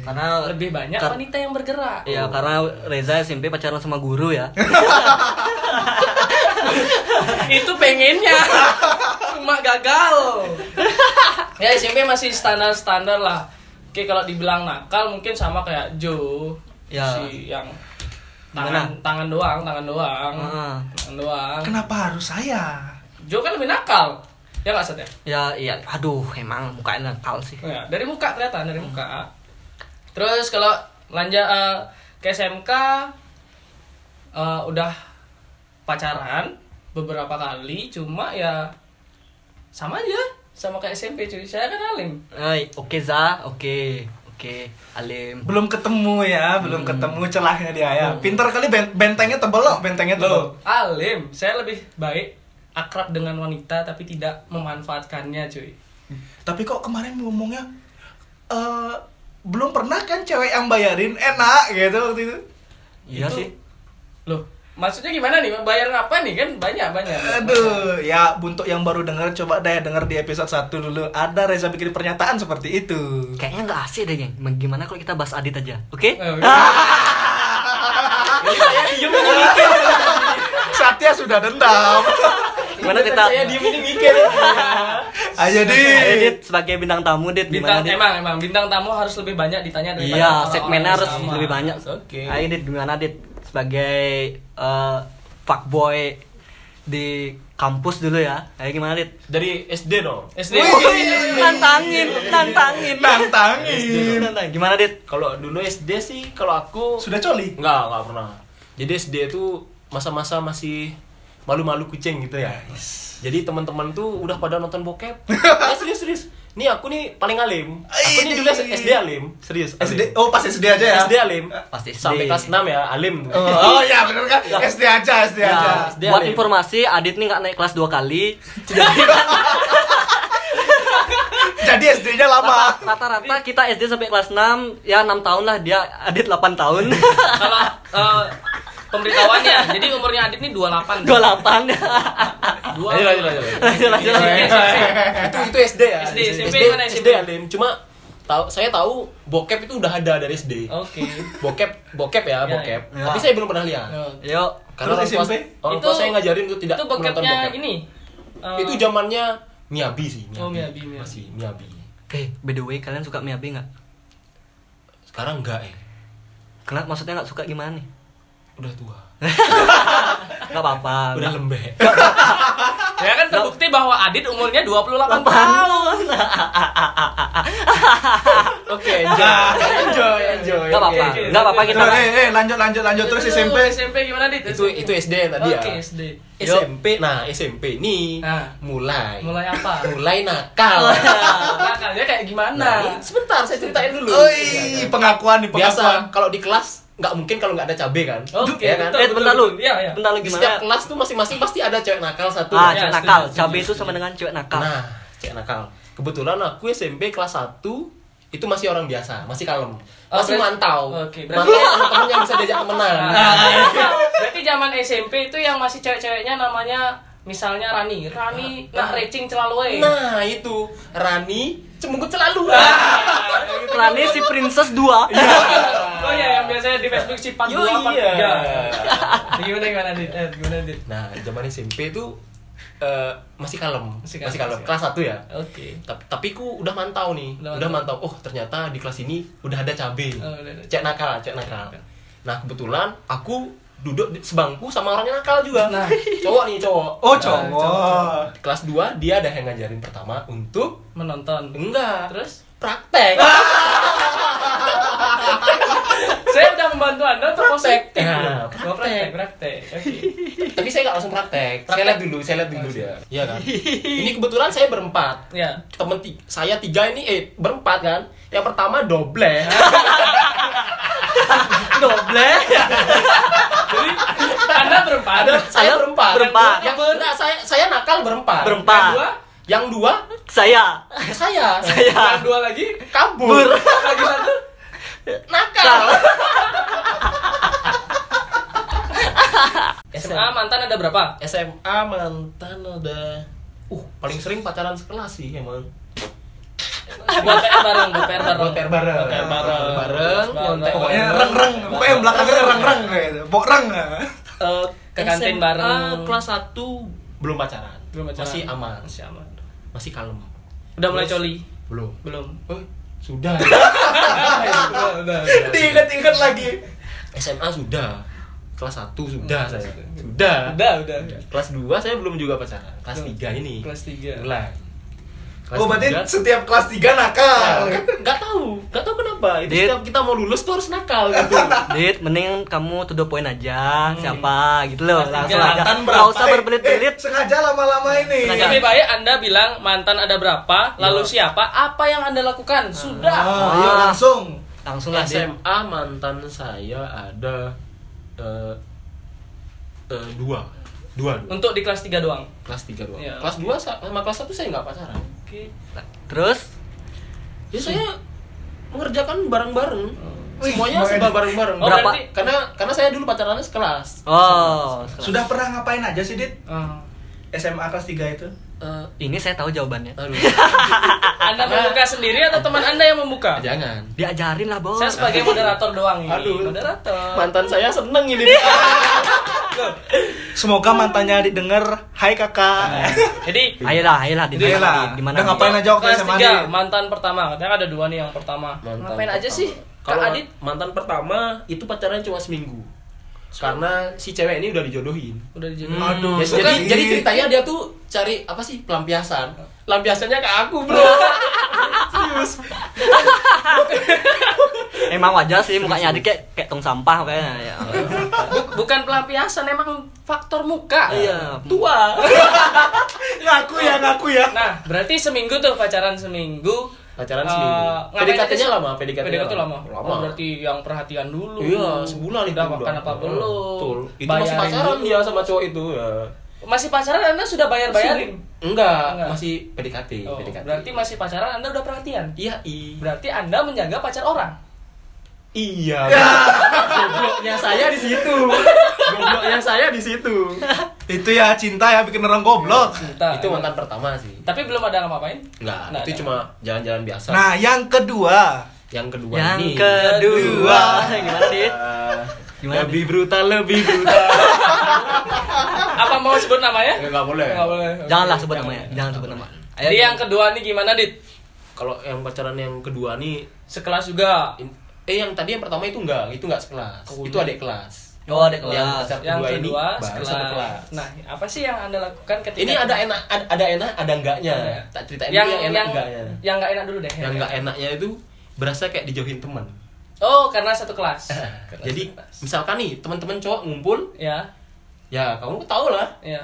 S2: Karena
S3: lebih banyak
S2: kar-
S3: wanita yang bergerak
S2: Iya, karena Reza SMP pacaran sama guru ya.
S3: itu pengennya cuma gagal ya SMP masih standar standar lah oke kalau dibilang nakal mungkin sama kayak Joe
S2: Ya.
S3: si yang
S2: Gimana? Ah.
S3: tangan tangan doang tangan doang
S2: Heeh.
S3: tangan doang
S1: Kenapa harus saya?
S3: Joe kan lebih nakal ya nggak Sat, ya?
S2: ya, iya. Aduh, emang mukanya nakal sih.
S3: Ya, dari muka kelihatan dari muka. Terus kalau lanjut ke SMK eh, udah pacaran beberapa kali cuma ya sama aja sama kayak SMP cuy. Saya kan alim.
S2: Eh, oke Za, oke. Oke, Alim.
S1: Belum ketemu ya, belum ketemu celahnya dia ya. Pintar kali ben- bentengnya tebel loh, bentengnya tebel.
S3: Loh, alim. Saya lebih baik akrab dengan wanita tapi tidak memanfaatkannya cuy.
S1: Tapi kok kemarin ngomongnya eh belum pernah kan cewek yang bayarin enak gitu waktu itu.
S2: Iya
S3: Itu-
S2: sih.
S3: Loh, maksudnya gimana nih? Bayar apa nih kan banyak banyak.
S1: Aduh, ya untuk yang baru denger coba deh denger di episode 1 dulu. Ada Reza bikin pernyataan seperti itu.
S2: Kayaknya nggak asik deh, geng. Gimana kalau kita bahas Adit aja? Oke? Ah,
S3: Eh,
S1: Satya sudah dendam.
S2: Gimana kita
S3: Saya diem ini mikir.
S1: Ayo di.
S2: Adit sebagai bintang tamu, Dit.
S3: bintang
S2: Gimana, Dit?
S3: emang emang bintang tamu harus lebih banyak ditanya daripada
S2: Iya,
S3: orang-orang
S2: segmennya harus
S3: sama.
S2: lebih banyak.
S4: Oke.
S2: Ayo Dit, gimana Dit sebagai eh, fuckboy di kampus dulu ya. Ayo gimana Dit?
S4: Dari SD dong.
S3: SD
S2: iya, Nantangin, nantangin.
S1: Nantangin.
S2: Nantangin. Gimana Dit?
S4: Kalau dulu SD sih kalau aku
S1: Sudah coli.
S4: Enggak, enggak pernah. Jadi SD itu masa-masa masih malu-malu kucing gitu ya. Jadi teman-teman tuh udah pada nonton bokep. Eh, serius serius. nih aku nih paling alim aku nih dulu SD alim serius
S1: SD oh pas SD aja ya
S4: SD alim
S2: Pasti SD.
S4: sampai kelas 6 ya alim tuh.
S1: oh ya bener kan SD aja
S2: Iya,
S1: SD aja
S4: Ya. Dia
S2: buat
S4: nih.
S2: informasi Adit nih nggak naik kelas dua kali
S1: jadi SD nya lama
S2: Rata- rata-rata kita SD sampai kelas 6 ya 6 tahun lah dia Adit 8 tahun
S3: Kalau eh, pemberitahuannya, jadi umurnya Adit nih 28.
S2: 28
S3: Dua.
S4: Lanjut, lanjut, lanjut.
S2: lanjut lanjut
S3: Iya,
S4: itu itu SD ya
S3: SD, SMP, mana SMP?
S4: SD alim cuma tahu saya tahu bokep itu udah ada dari SD
S3: Oke.
S4: bokep bokep ya
S3: Oh. Ya,
S4: bokep
S2: ya.
S4: tapi saya belum pernah lihat
S2: yuk
S4: karena orang
S1: Terus
S4: tua,
S1: SMP?
S4: orang tua
S3: Itu-
S4: saya ngajarin untuk tidak
S3: Itu
S4: menonton
S3: bokepnya
S4: bokep
S3: ini. eh,
S4: itu zamannya Miyabi sih
S3: Oh, Miyabi, Miyabi.
S4: masih Miyabi
S2: eh by the way kalian suka Miyabi nggak
S4: sekarang enggak eh
S2: kenapa maksudnya nggak suka gimana nih
S4: udah tua
S2: nggak apa-apa
S4: udah lembek
S3: Ya kan terbukti bahwa Adit umurnya 28 tahun.
S2: tahun
S4: oke enjoy Ah, enjoy enjoy
S2: nggak apa-apa
S3: Oke, oke.
S2: nggak apa-apa kita
S1: eh eh, eh lanjut lanjut lanjut terus SMP
S3: SMP gimana Adit?
S4: itu itu SD yang tadi ya
S3: Oke, SD.
S4: SMP nah SMP nih
S3: Nah.
S4: mulai
S3: Mulai apa?
S4: mulai nakal
S3: Nakalnya kayak
S4: nah
S3: gimana?
S4: sebentar saya ceritain dulu
S3: Oh,
S1: Oi,
S4: Iya, kan?
S1: pengakuan nih pengakuan
S4: biasa kalau di kelas nggak mungkin kalau nggak ada cabe kan
S3: Oke,
S4: ya kan
S3: betul.
S2: eh bentar lu
S3: Iya, iya.
S2: bentar lu
S4: di
S2: gimana
S4: setiap kelas tuh masing-masing pasti ada cewek nakal satu
S2: ah cewek
S3: Ya, setuju,
S2: nakal
S3: setuju,
S2: cabai itu sama dengan cewek nakal
S4: Nah, cewek nakal. Kebetulan aku SMP kelas 1 itu masih orang biasa, masih
S3: Oh,
S4: kalem. Masih
S3: berarti-
S4: mantau.
S3: Oke, berarti-
S4: mantau teman-teman yang bisa diajak temenan.
S3: Nah, Berarti zaman SMP itu yang masih cewek-ceweknya namanya misalnya Rani. Rani nak racing eh. celalwe.
S4: Nah, itu Rani cemungkut selalu.
S3: Ah,
S2: Kelani si princess 2
S3: Oh iya, yang biasanya di Facebook cipat
S4: Yo,
S3: dua apa
S4: iya.
S3: tiga. Gimana gimana Adit? Eh, gimana Adit?
S4: Nah, zaman SMP itu eh, masih kalem,
S3: Masih
S4: masih
S3: kalem,
S4: kalem,
S3: masih
S4: kelas 1 ya.
S3: Oke.
S4: Tapi, tapi ku udah mantau nih,
S3: Udah
S4: udah, mantau. Oh, ternyata di kelas ini udah ada cabe.
S3: Oh, udah ada.
S4: cek nakal, cek nakal. Nah, kebetulan aku duduk di sebangku sama orangnya nakal juga.
S3: Nah.
S4: cowok nih, cowok.
S1: oh
S4: Nah,
S1: cowok
S4: Di kelas 2 dia ada yang ngajarin pertama untuk
S3: Menonton.
S4: enggak
S3: Terus
S4: praktek
S3: saya udah membantu Anda untuk positif.
S4: Nah,
S3: loh. Gua praktek, praktek. Oke.
S4: tapi saya nggak langsung praktek saya lihat dulu saya lihat dulu dia iya kan ini kebetulan saya berempat
S3: Ya.
S4: temen ti- saya tiga ini eh berempat kan yang pertama doble
S2: doble
S3: Jadi Anda berempat.
S4: saya
S2: Saya
S4: berempat
S2: berempat.
S4: yang enggak, saya saya nakal berempat
S2: Berempat.
S4: yang dua yang dua
S2: saya
S4: ya saya
S3: Yang
S2: saya
S3: dua lagi
S4: kabur
S3: lagi satu
S4: nakal
S3: SMA mantan ada berapa?
S4: SMA mantan ada uh paling sering pacaran sekelas sih emang
S3: Baper bareng, baper bareng.
S4: Boter bareng.
S3: Boter bareng.
S4: Boter bareng.
S3: Bareng.
S1: pokoknya reng reng Ya, pokoknya belakangnya reng reng kayak gitu bok reng ah.
S4: Eh,
S3: Ke kantin
S4: SMA
S3: bareng.
S4: kelas 1 belum pacaran.
S3: Belum pacaran.
S4: Masih aman.
S3: Masih aman.
S4: Masih kalem.
S3: Udah mulai
S4: Terus?
S3: coli?
S4: Belum.
S3: Belum.
S4: Eh, sudah.
S1: diinget-inget lagi
S4: SMA sudah. Kelas 1 sudah saya. Sudah.
S3: Udah, udah.
S4: Kelas 2 saya belum juga pacaran. Kelas 3 ini.
S3: Kelas tiga.
S4: Mulai. Kelas
S1: oh berarti
S4: tiga.
S1: setiap kelas 3 nakal
S4: Nah, nggak tahu, nggak tahu kenapa. Itu
S2: Dit.
S4: setiap kita mau lulus tuh harus nakal gitu.
S2: Dit, mending kamu to the point aja siapa gitu loh langsung aja
S4: Mantan
S2: nggak usah
S1: Eh,
S2: berbelit-belit
S1: eh, sengaja lama-lama ini
S2: Sengaja.
S3: Lebih baik Anda bilang mantan ada berapa, lalu siapa, apa yang Anda lakukan. Sudah.
S1: ah, yuk langsung
S2: langsung
S3: Iya,
S2: lah Dit
S4: SMA mantan saya ada eh eh, dua. Dua. dua.
S3: Untuk di kelas 3 doang.
S4: kelas 3 doang.
S3: Iya.
S4: Kelas 2 sama kelas 1 saya nggak pacaran.
S3: Oke.
S2: terus
S4: Ya saya mengerjakan bareng-bareng.
S1: Wih,
S4: Semuanya
S1: keren.
S4: serba bareng-bareng.
S2: Oh, Berapa?
S4: Berarti karena karena saya dulu pacarannya sekelas.
S2: oh
S1: sudah pernah ngapain aja sih dit
S3: Ah.
S1: SMA kelas 3 itu
S4: Eh,
S2: ini saya tahu jawabannya
S4: aduh.
S3: Anda membuka sendiri atau teman Anda yang membuka?
S4: Jangan.
S2: diajarin lah bos
S3: Saya sebagai moderator doang ini.
S4: Aduh.
S3: Moderator.
S4: Mantan saya seneng ini.
S1: semoga mantannya Adit denger hai kakak
S3: Jadi
S2: ayolah ayolah Dit
S1: Ayolah.
S2: ayolah, Dit.
S1: Udah
S2: Dit?
S1: ngapain aja waktu
S3: kelas
S1: SMA
S3: 3
S1: Adit?
S3: mantan pertama. Katanya ada dua nih yang pertama. Ngapain aja sih?
S4: Kalau
S3: Kak Adit
S4: mantan pertama itu pacarannya cuma seminggu. Karena si cewek ini udah dijodohin.
S3: udah Hmm. jadi
S1: aduh
S4: Ya,
S1: sedih.
S4: jadi, jadi ceritanya dia tuh cari apa sih pelampiasan.
S3: lampiasannya ke aku bro serius
S2: Emang wajar Eh, sih mukanya adik kayak kayak tong sampah kayaknya. Ya.
S3: Bu- bukan pelampiasan emang faktor muka
S2: Iya.
S3: tua
S1: Ngaku ya, ngaku ya.
S3: nah berarti seminggu tuh pacaran seminggu Eh,
S4: Pacaran seminggu.
S3: ngapain aja
S4: PDKT-nya
S3: sih?
S4: lama, PDKT-nya
S3: PDKT lama.
S4: lama.
S3: Oh,
S4: Lama.
S3: berarti yang perhatian dulu.
S4: Iya, sebulan itu
S3: Udah
S4: udah.
S3: makan apa belum?
S4: Betul. Itu
S3: bayarin
S4: masih pacaran
S3: dulu.
S4: dia sama cowok itu ya.
S3: Masih pacaran Anda sudah bayar-bayarin.
S4: Enggak,
S3: Enggak.
S4: masih PDKT,
S3: Oh,
S4: Iya, PDKT.
S3: berarti masih pacaran Anda udah perhatian.
S4: iya i.
S3: Berarti Anda menjaga pacar orang.
S4: Iya.
S3: Ya.
S4: Gobloknya saya di situ. Gobloknya saya di situ.
S3: Nah,
S1: Itu ya cinta ya bikin orang goblok.
S3: Cinta.
S4: Itu mantan pertama sih.
S3: Tapi belum ada ngapa-ngapain.
S4: Enggak,
S3: Nah,
S4: itu
S3: nah.
S4: cuma jalan-jalan biasa.
S1: Nah, yang kedua.
S4: yang kedua
S2: Yang
S4: ini
S2: kedua gimana sih?
S4: eh,
S2: Gimana,
S4: lebih brutal, lebih brutal.
S3: Apa mau sebut namanya?
S4: Enggak boleh.
S3: Nggak boleh.
S2: Janganlah sebut namanya, jangan sebut nama. Ayo.
S3: Jadi yang kedua nih gimana, Dit?
S4: Kalau yang pacaran yang kedua nih
S3: Sekelas juga.
S4: in- eh yang tadi yang pertama itu enggak, itu enggak sekelas. Itu adik kelas.
S2: Oh, ada
S4: Yang
S2: kelas.
S4: pacar
S3: Yang
S4: kedua, ini
S3: kedua,
S4: baru
S3: sekelas.
S4: satu kelas.
S3: Nah, apa sih yang Anda lakukan ketika
S4: ini ada enak ada, ada enak ada enggaknya. Tak ceritain
S3: yang
S4: dulu yang enak
S3: yang
S4: enggaknya.
S3: yang nggak enak dulu deh.
S4: Yang enggak enaknya itu berasa kayak dijauhin teman.
S3: Oh, karena satu kelas.
S4: Jadi misalkan nih teman-teman cowok ngumpul,
S3: ya,
S4: ya kamu tahu lah.
S3: ya.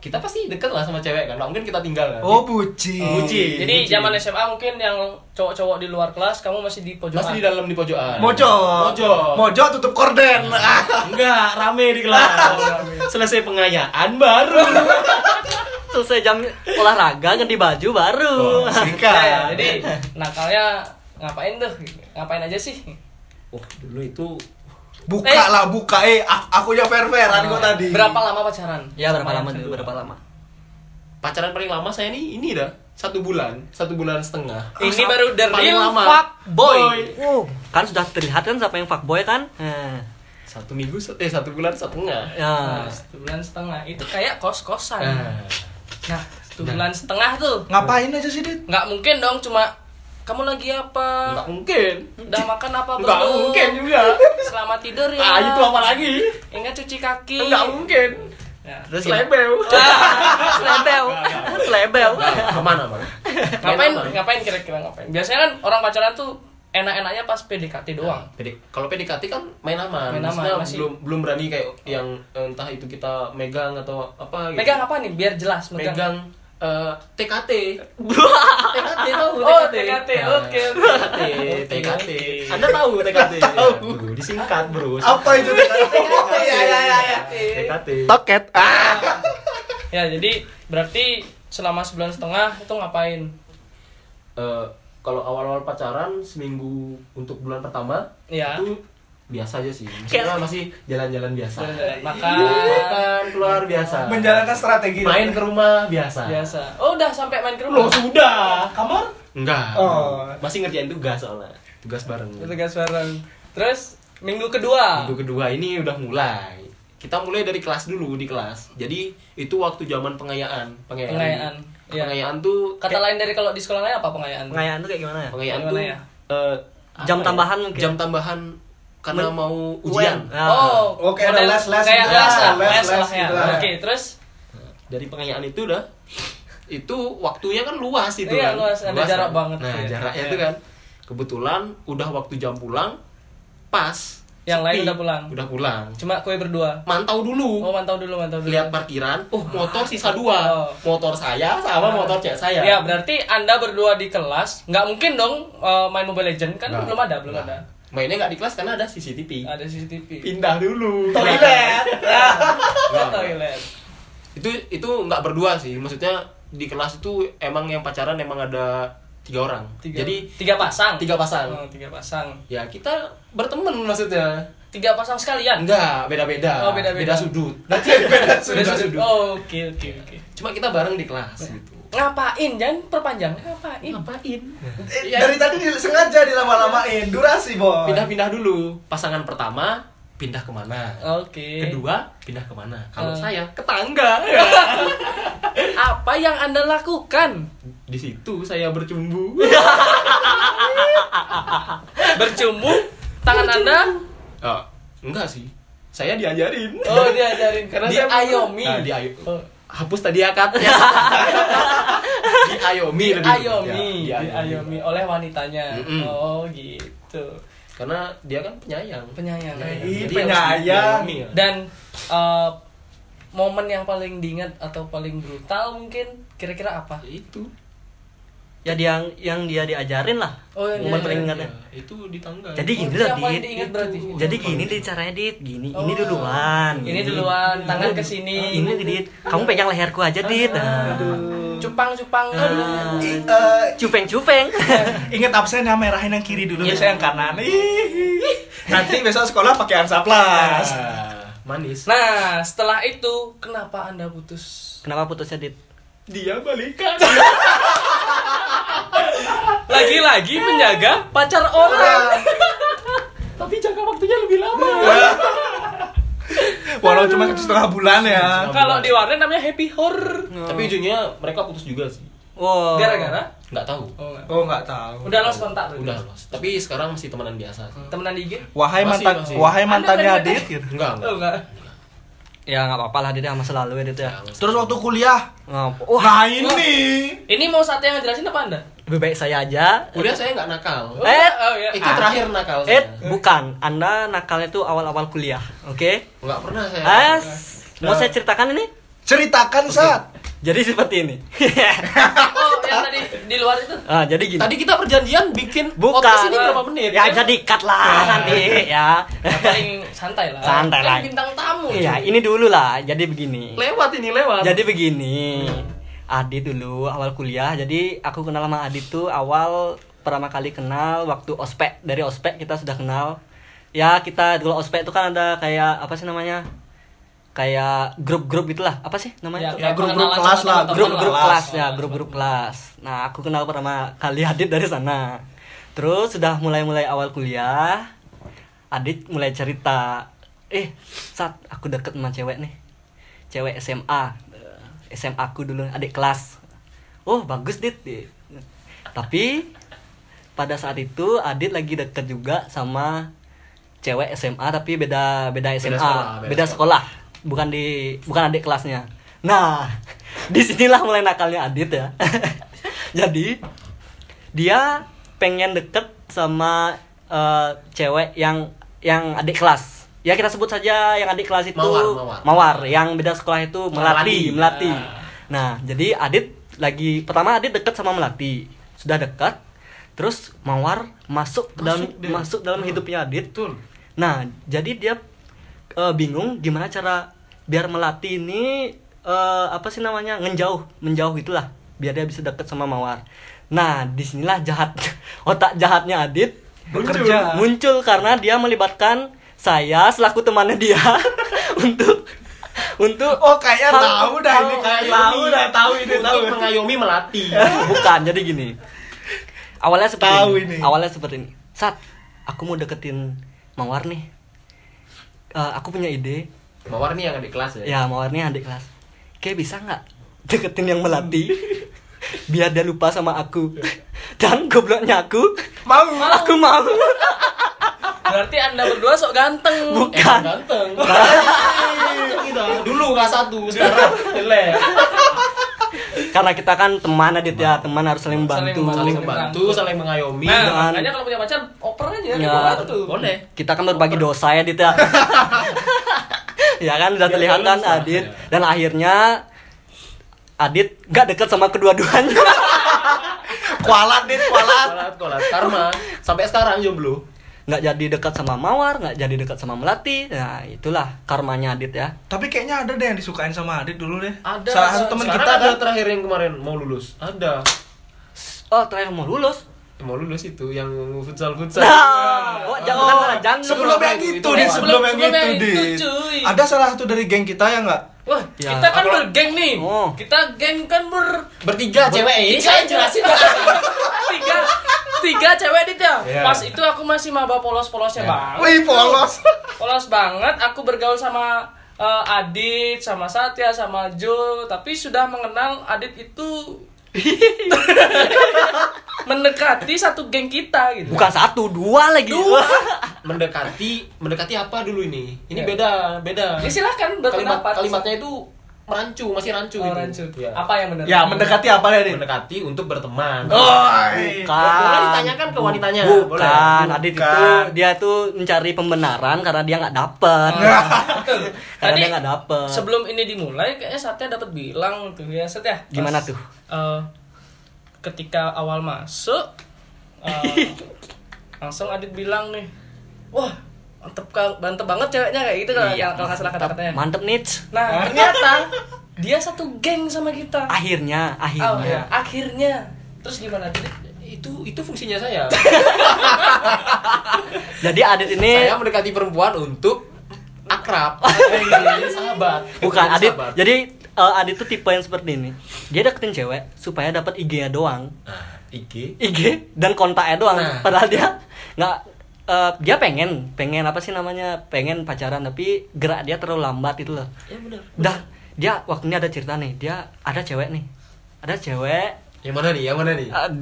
S4: Kita pasti deket lah sama cewek kan, nggak mungkin kita tinggal kan.
S1: Oh, bucin.
S4: Bucin.
S3: Oh. Jadi zaman SMA mungkin yang cowok-cowok di luar kelas kamu masih di pojokan.
S4: Masih di dalam di pojokan.
S1: Mojo.
S4: Mojo.
S1: Mojo tutup korden. Ah.
S4: Enggak, rame di kelas. Iya, Selesai pengayaan baru.
S2: selesai jam olahraga ganti baju baru.
S1: Oh,
S3: Nah, ya,
S1: Singkat.
S3: jadi nakalnya ngapain tuh? Ngapain aja sih?
S4: Wah, dulu itu
S1: Buka lah, buka. Eh, a- aku yang fair-fairan
S3: Hmm.
S1: kok tadi.
S3: Berapa lama pacaran?
S2: ya berapa
S3: Sama yang
S2: lama dulu?
S3: kedua.
S2: Berapa lama?
S4: pacaran paling lama saya nih ini dah. Satu bulan, satu bulan setengah.
S3: Ini baru the
S4: Paling
S3: real
S4: lama.
S3: fuck boy.
S2: Wow, kan sudah terlihat kan siapa yang fuckboy kan? Nah,
S4: Satu minggu, se- eh satu bulan setengah.
S2: ya.
S4: Ah.
S3: Nah, sebulan setengah itu kayak kos-kosan.
S4: Nah,
S3: Nah, sebulan setengah tuh.
S1: Ngapain aja sih, Dit?
S3: Nggak mungkin dong cuma kamu lagi apa?
S4: nggak mungkin.
S3: Udah makan apa belum?
S4: Nggak mungkin juga.
S3: Selamat tidur ya.
S4: Ah, itu apa lagi?
S3: Ingat cuci kaki.
S4: Nggak mungkin.
S3: Nah,
S2: Terus gimana?
S4: Selebel.
S2: Selebel. Selebel.
S4: Nah, Kemana, Bang?
S3: ngapain ngapain kira-kira ngapain biasanya kan orang pacaran tuh enak-enaknya pas PDKT doang
S4: PD kalau PDKT kan main aman,
S3: Main aman,
S4: Maksudnya
S3: masih-
S4: belum belum berani kayak yang eh, entah itu kita megang atau apa gitu.
S3: megang apa nih biar jelas
S4: megang eh, TKT. TKT tahu
S3: oh PDKT
S4: Nah,
S3: oke oke
S4: TKT, TKT. Anda tahu TKT? Tahu. Iya. disingkat, Bro.
S1: Apa itu? Oh, iya, iya, iya, iya.
S4: TKT.
S1: Toket. Ah.
S3: ya jadi berarti selama sebulan setengah itu ngapain
S4: Eh, kalau awal-awal pacaran seminggu untuk bulan pertama
S3: Iya.
S4: itu biasa aja sih. Maksudnya masih jalan-jalan biasa.
S3: makan
S4: Makan keluar biasa.
S1: iya. Menjalankan strategi.
S4: main ke rumah biasa.
S3: Gitu. biasa oh udah sampai main ke
S4: Loh,
S3: rumah
S4: sudah.
S1: Kamar?
S4: Enggak.
S1: Oh.
S4: Masih ngerjain tugas soalnya. Tugas bareng.
S3: tugas bareng terus minggu kedua
S4: Minggu kedua ini udah mulai. Kita mulai dari kelas dulu di kelas. Jadi itu waktu zaman pengayaan, pengayaan.
S3: Pengayaan, iya.
S4: Pengayaan tuh
S3: kata lain dari kalau di sekolah lain apa pengayaan
S2: Pengayaan tuh kayak gimana ya?
S4: pengayaan
S3: Gimana
S4: tuh
S3: ya?
S4: eh, apa
S2: Jam
S4: ya?
S2: tambahan mungkin.
S4: Jam tambahan karena
S2: Men-
S4: mau ujian.
S2: UN.
S3: oh
S1: Oke, ada
S3: model
S1: les, les
S3: kayak
S1: gitu.
S3: les
S1: Ya,
S3: lah
S1: les,
S3: les
S1: les
S3: lah ya.
S1: gitu lah.
S3: oke terus
S4: Dari pengayaan itu udah itu waktunya kan luas itu
S3: Iya,
S4: kan.
S3: luas. Ada jarak
S4: kan?
S3: banget.
S4: Nah,
S3: Iya.
S4: jaraknya
S3: Iya.
S4: itu kan kebetulan udah waktu jam pulang pas
S3: Yang lain
S4: sepi.
S3: udah pulang.
S4: Udah pulang.
S3: cuma kue berdua
S4: Mantau dulu.
S3: oh mantau dulu mantau dulu
S4: lihat parkiran, oh motor sisa dua,
S3: Oh.
S4: motor saya sama motor cek saya.
S3: Ya berarti anda berdua di kelas nggak mungkin dong eh, main Mobile Legend kan
S4: Nah,
S3: belum ada belum
S4: nah. Iya.
S3: ada
S4: Mainnya nggak di kelas karena ada CCTV.
S3: ada CCTV
S4: Pindah dulu. Nah,
S3: toilet
S4: itu itu nggak berdua sih, maksudnya di kelas itu emang yang pacaran emang ada tiga orang.
S3: tiga,
S4: Jadi
S3: tiga pasang
S4: tiga pasang.
S3: Oh, tiga pasang
S4: Ya kita berteman maksudnya.
S3: tiga pasang sekalian
S4: Enggak,
S3: Kan?
S4: beda-beda.
S3: Oh, beda-beda.
S4: sudut. beda
S3: Sudah, sudah. Oh, oke oke oke
S4: Cuma kita bareng di kelas gitu.
S3: ngapain jangan perpanjang ngapain
S4: Ngapain?
S1: Eh, Dari tadi di- sengaja dilama-lamain durasi,
S3: Oh,
S1: Boy.
S4: Pindah-pindah dulu. Pasangan pertama pindah kemana?
S3: Oh, oke
S4: kedua pindah kemana kalau
S3: Eh.
S4: saya ke tangga
S3: apa yang anda lakukan
S4: di situ saya bercumbu
S3: bercumbu tangan anda
S4: oh, enggak sih saya diajarin
S3: oh diajarin karena Nah,
S4: Di
S3: saya
S4: Ayomi. Nah, di Ayo- hapus tadi akadnya di Ayomi lebih
S3: diayomi,
S4: Ya,
S3: diayomi oleh wanitanya.
S4: Mm-mm.
S3: Oh gitu.
S4: karena dia kan penyayang
S3: Nah, iya, Penyayang.
S1: Ih,
S4: Jadi
S1: penyayang.
S4: harus diayomi. ya.
S3: Dan eh, momen yang paling diingat atau paling brutal mungkin kira-kira apa?
S4: itu
S2: ya dia yang dia diajarin lah
S3: Oh, iya,
S2: momen
S3: iya,
S2: paling
S3: iya.
S2: ingatnya
S4: itu di tanggal
S2: jadi
S3: Oh,
S2: gini
S3: itu
S2: loh
S3: yang paling
S2: Dit.
S3: diingat berarti.
S2: Itu. jadi gini deh caranya dit gini ini
S3: Oh.
S2: duluan
S3: Ini
S2: gini.
S3: duluan, tangan
S2: Ini-
S3: ke sini.
S2: ini dit kamu pegang leherku aja dit Nah.
S3: Cupang-cupang.
S2: Nah.
S1: Ih, eh,
S2: cupeng cupeng
S1: Ingat absen ya merahin yang kiri dulu,
S3: Iya.
S1: besok yang kanan. Ih. Nanti besok sekolah pakai ansaplas.
S4: manis
S3: Nah, setelah itu kenapa Anda putus?
S2: kenapa putusnya dit
S4: dia balikan
S3: Lagi-lagi menjaga pacar
S1: Ah.
S3: orang.
S4: tapi jangka waktunya lebih
S1: Ya.
S4: lama
S1: Walau cuma satu setengah bulan ya.
S3: Kalau di warnet namanya happy horror.
S4: tapi ujungnya mereka putus juga sih
S2: wow
S3: Gara-gara
S4: nggak tahu
S3: Oh, nggak.
S1: Oh nggak tahu.
S3: udah lost kontak tuh.
S4: udah lost tapi sekarang masih temenan biasa sih.
S3: Temenan di IG?
S1: Wahai
S4: Masih,
S1: mantan,
S4: masih.
S1: wahai
S3: Anda
S1: mantannya
S3: tadi-
S1: Adit. gitu.
S4: enggak enggak
S3: Oh, enggak.
S2: ya nggak apa-apa lah dit sama selalu ya dit ya
S1: Terus waktu kuliah,
S2: Ngapa?
S1: nah
S2: wah
S1: ini
S3: Ini mau sate yang ngejelasin apa Anda?
S2: lebih baik saya aja
S4: udah saya nggak nakal
S3: Oh,
S2: Eh,
S3: oh, iya.
S4: itu terakhir nakal
S2: Eh,
S4: saya
S2: bukan. Anda nakalnya itu awal-awal kuliah, oke?
S4: nggak pernah saya
S2: As, mau saya ceritakan ini?
S1: ceritakan saat.
S2: Jadi seperti ini.
S3: Oh, yang tadi di luar itu.
S2: ah, jadi gini.
S4: tadi kita perjanjian bikin
S2: bukan.
S4: podcast ini berapa menit
S2: Ya,
S4: kan?
S2: jadi cut lah nanti ya.
S3: Yang paling santai lah.
S2: Santai
S3: Kan
S2: lah.
S3: bintang tamu.
S2: Iya,
S3: cuy.
S2: ini dulu lah. Jadi begini.
S4: lewat ini lewat
S2: Jadi begini.
S3: Hmm.
S2: Adit dulu awal kuliah. Jadi aku kenal sama Adit tuh awal pertama kali kenal waktu ospek. Dari ospek kita sudah kenal. Ya, kita kalau ospek itu kan ada kayak apa sih namanya? Kayak grup-grup itulah. Apa sih namanya?
S3: Ya,
S2: tuh?
S1: Ya grup-grup
S3: Pengenalan
S1: kelas
S3: sama
S1: lah,
S3: teman-teman
S2: grup-grup
S3: lah.
S2: kelas ya
S3: Oh,
S2: grup-grup kelas nah aku kenal pertama kali Adit dari sana terus sudah mulai-mulai awal kuliah Adit mulai cerita eh saat aku deket sama cewek nih cewek SMA Eh, SMA aku dulu adik kelas oh bagus Dit tapi pada saat itu Adit lagi deket juga sama cewek SMA tapi beda beda SMA beda
S4: sekolah,
S2: sekolah,
S4: beda
S2: bukan di bukan adik kelasnya nah disinilah mulai nakalnya Adit ya jadi dia pengen deket sama eh, cewek yang yang adik kelas ya kita sebut saja yang adik kelas itu
S4: Mawar, mawar.
S2: yang beda sekolah itu melati
S4: Melati.
S2: melati
S4: Ah.
S2: Nah, jadi Adit lagi pertama Adit dekat sama Melati. Sudah dekat. Terus Mawar masuk ke dalam
S4: Masuk dia. Ah.
S2: masuk dalam hidupnya Adit.
S4: betul
S2: Nah, jadi dia eh, bingung gimana cara biar Melati ini eh, apa sih namanya? ngejauh, menjauh itulah biar dia bisa dekat sama Mawar. Nah, disinilah jahat otak jahatnya Adit
S1: Bekerja.
S2: muncul karena dia melibatkan saya selaku temannya dia untuk untuk
S1: Oh kayaknya
S2: Tahu,
S1: tahu dah ini
S2: tahu,
S1: kayaknya
S2: tahu Ya.
S1: ini.
S2: dah,
S1: tahu ini tahu.
S4: untuk mengayomi melati
S2: bukan jadi gini awalnya seperti
S1: Tahu ini.
S2: awalnya seperti ini saat aku mau deketin mawar nih Eh, aku punya ide
S4: mawar nih yang ada di kelas ya,
S2: ya mawar nih adik kelas kayak bisa nggak deketin yang melati biar dia lupa sama aku dan gobloknya aku
S1: Mau.
S2: aku mau
S3: Berarti Anda berdua sok ganteng. Eh,
S4: Emang
S2: bukan
S4: ganteng Kita Gitu. dulu kelas satu sekarang jelek
S2: karena kita kan teman adit ya teman harus saling
S3: Saling
S2: bantu
S4: saling membantu saling mengayomi
S2: Iya.
S3: Nah, makanya kalau punya pacar oper aja gitu
S2: Ya.
S3: tuh.
S4: boleh
S2: kita kan berbagi dosa ya Dit ya ya kan udah
S4: Biar
S2: terlihat kan
S4: balance lah,
S2: Adit
S4: ya.
S2: dan akhirnya Adit nggak dekat sama kedua-duanya
S1: Kualat dit kualat.
S4: kolat kolat karma sampai sekarang jomblo
S2: nggak jadi dekat sama Mawar nggak jadi dekat sama Melati nah itulah karmanya Adit ya
S1: Tapi kayaknya ada deh yang disukain sama Adit dulu deh.
S3: Ada.
S1: Salah satu teman
S4: sekarang
S1: kita
S4: ada
S1: kan.
S4: terakhir yang kemarin mau lulus ada
S2: oh terakhir mau lulus
S4: mau lulus itu yang futsal futsal
S2: nah oh, jangan
S1: Oh,
S2: lah, jangan
S1: sebelum yang itu,
S3: Eh,
S1: Dit, sebelum,
S3: sebelum-
S1: yang
S3: sebelum
S1: itu,
S3: yang itu,
S1: Dit.
S3: cuy.
S1: Ada salah satu dari geng kita ya nggak?
S3: Wah,
S2: Ya.
S3: kita kan
S4: Apa-
S3: bergeng nih.
S2: Oh.
S3: Kita geng kan ber
S4: bertiga cewek ini
S3: saya jelasin dulu. tiga tiga cewek dit ya
S4: Iya.
S3: pas itu aku masih maba polos polosnya
S4: Iya.
S3: banget
S1: Wih polos.
S3: polos banget aku bergaul sama eh, Adit sama Satya sama Jo tapi sudah mengenal Adit itu mendekati satu geng kita gitu
S2: bukan satu dua lagi
S3: Dua.
S4: mendekati mendekati apa dulu ini
S3: Ya.
S4: ini beda beda
S3: ya silahkan
S4: kalimat
S3: berpendapat
S4: kalimatnya itu rancu masih
S3: Oh,
S4: rancu gitu.
S3: rancu.
S4: Ya. Oh.
S3: Apa Oh, yang benar?
S1: Ya, mendekati apa ya, Din?
S4: mendekati untuk berteman
S1: Oi.
S4: boleh ditanyakan ke wanitanya boleh
S2: Bukan, Adit itu
S1: Bukan.
S2: dia tuh mencari pembenaran karena dia nggak dapet. karena
S3: Nah. Tadi
S2: dia nggak dapet.
S3: Sebelum ini dimulai kayaknya Satya dapat bilang tuh ya Satya. pas,
S2: Gimana tuh?
S3: eh, ketika awal masuk eh, langsung Adit bilang nih, wah mantep ka- mantep banget ceweknya kayak gitu kalau
S2: Iya,
S3: kalau nggak salah
S2: mantap,
S3: kata-katanya.
S2: Mantep Nits.
S3: Nah ternyata dia satu geng sama kita.
S2: Akhirnya,
S3: Oh,
S2: akhirnya.
S3: ya, akhirnya. Terus gimana? Jadi
S4: itu itu fungsinya saya
S2: Jadi Adit ini
S4: saya mendekati perempuan untuk akrab Jadi sahabat
S2: bukan
S4: Jadi
S2: Adit.
S4: sahabat.
S2: Jadi eh, Adit tuh tipe yang seperti ini. Dia deketin cewek supaya dapat IG-nya doang.
S4: nah, IG
S2: IG dan kontaknya doang.
S4: Nah.
S2: Padahal dia nggak eh, dia pengen, pengen apa sih namanya? Pengen pacaran tapi gerak dia terlalu lambat itu loh.
S4: ya benar
S2: Dah, dia waktu ini ada cerita nih. Dia ada cewek nih. Ada cewek
S4: yang mana nih yang mana nih
S2: eh,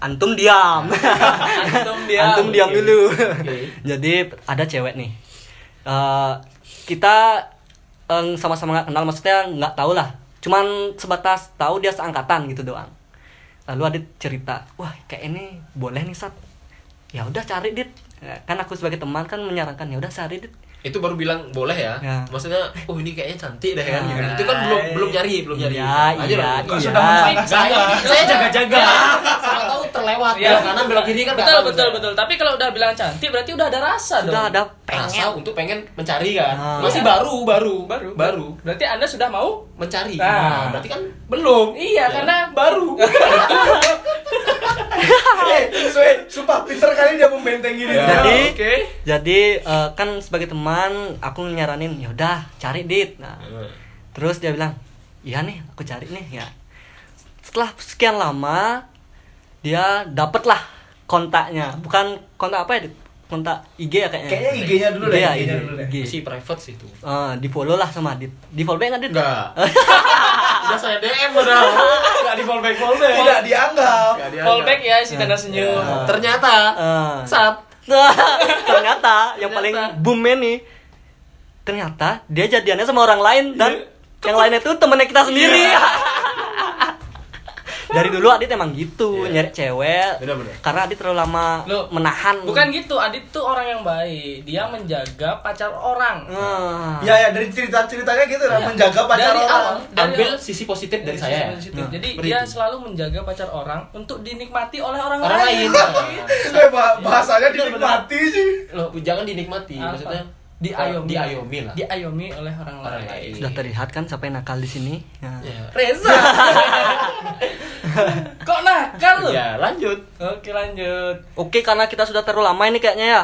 S2: antum diam.
S3: Antum diam.
S2: Antum diam
S4: Oke.
S2: dulu.
S4: Oke.
S2: Jadi ada cewek nih. Eh, kita eh, sama-sama nggak kenal maksudnya nggak tahu lah. Cuman sebatas tahu dia seangkatan gitu doang. Lalu ada cerita, wah kayak ini boleh nih sat. Ya udah cari dit. Ya, Kan aku sebagai teman kan menyarankan ya udah cari dit.
S4: itu baru bilang boleh ya,
S2: Ya.
S4: maksudnya oh ini kayaknya cantik deh kan gitu.
S2: Nah.
S4: itu kan belum belum nyari belum nyari
S2: Iya,
S4: Aja
S2: iya,
S4: lah.
S2: iya.
S1: Sudah mencari.
S4: saya saya jaga-jaga sama tahu terlewat
S3: Iya.
S2: Ya,
S4: belok kanan belok kiri kan nggak
S3: betul
S4: tahu
S3: betul
S4: saya.
S3: betul. Tapi kalau udah bilang cantik berarti udah ada rasa dong.
S2: Sudah ada
S4: rasa
S2: pengen.
S4: untuk pengen mencari kan
S2: Ah.
S4: masih
S3: Iya.
S4: baru baru
S3: baru
S4: baru
S3: berarti anda sudah mau
S4: mencari
S3: Nah.
S4: nah, berarti kan belum
S3: iya
S4: Ya.
S3: karena baru
S1: Eh, Sue, sumpah pinter kali dia membenteng gini.
S4: Ya.
S2: Jadi
S3: oke.
S2: jadi eh, kan sebagai teman aku nyaranin ya udah cari dit. Nah, Terus dia bilang, iya nih, aku cari nih ya. Setelah sekian lama, dia dapatlah kontaknya. Bukan kontak apa ya? Dit? Kontak IG ya kayaknya.
S1: Kayaknya IG-nya dulu deh,
S2: Iya,
S1: IG-nya
S2: IG,
S1: dulu deh.
S2: IG.
S4: masih private sih itu
S2: Eh, di follow lah sama Adit. Di follow back nggak Dit?
S4: enggak udah saya DM udah enggak di fallback fallback
S1: Tidak dianggap.
S4: Enggak dianggap.
S3: callback ya si tanda
S2: Iya.
S3: senyum
S4: Ya. ternyata
S2: Eh.
S4: saat
S2: ternyata yang paling boomnya nih ternyata dia jadiannya sama orang lain dan
S3: Iya,
S2: yang lainnya itu temennya kita sendiri dari dulu Adit emang gitu
S4: Iya.
S2: nyari cewek
S4: Benar-benar.
S2: karena Adit terlalu lama
S3: Loh,
S2: menahan
S3: bukan gitu Adit tuh orang yang baik dia menjaga pacar orang
S4: Hmm.
S2: Ah.
S1: Ya ya dari cerita-ceritanya gitu lah menjaga pacar
S3: Dari
S1: orang.
S3: awal. Dari
S4: ambil
S3: awal.
S4: sisi positif dari
S3: Jadi,
S4: saya
S3: sensitif. jadi
S4: Seperti
S3: dia
S4: itu.
S3: selalu menjaga pacar orang untuk dinikmati oleh orang,
S4: orang lain
S1: Eh, bah- bahasanya dinikmati sih.
S4: loh jangan dinikmati
S3: Apa?
S4: maksudnya
S3: Iya, diayomi
S4: diayomi lah
S3: diayomi oleh orang,
S4: Orang
S3: lain
S4: lain.
S2: sudah terlihat kan siapa yang nakal di sini Nah.
S4: Ya.
S3: Reza kok nakal lu
S4: ya lanjut
S3: oke lanjut
S2: oke karena kita sudah terlalu lama ini kayaknya ya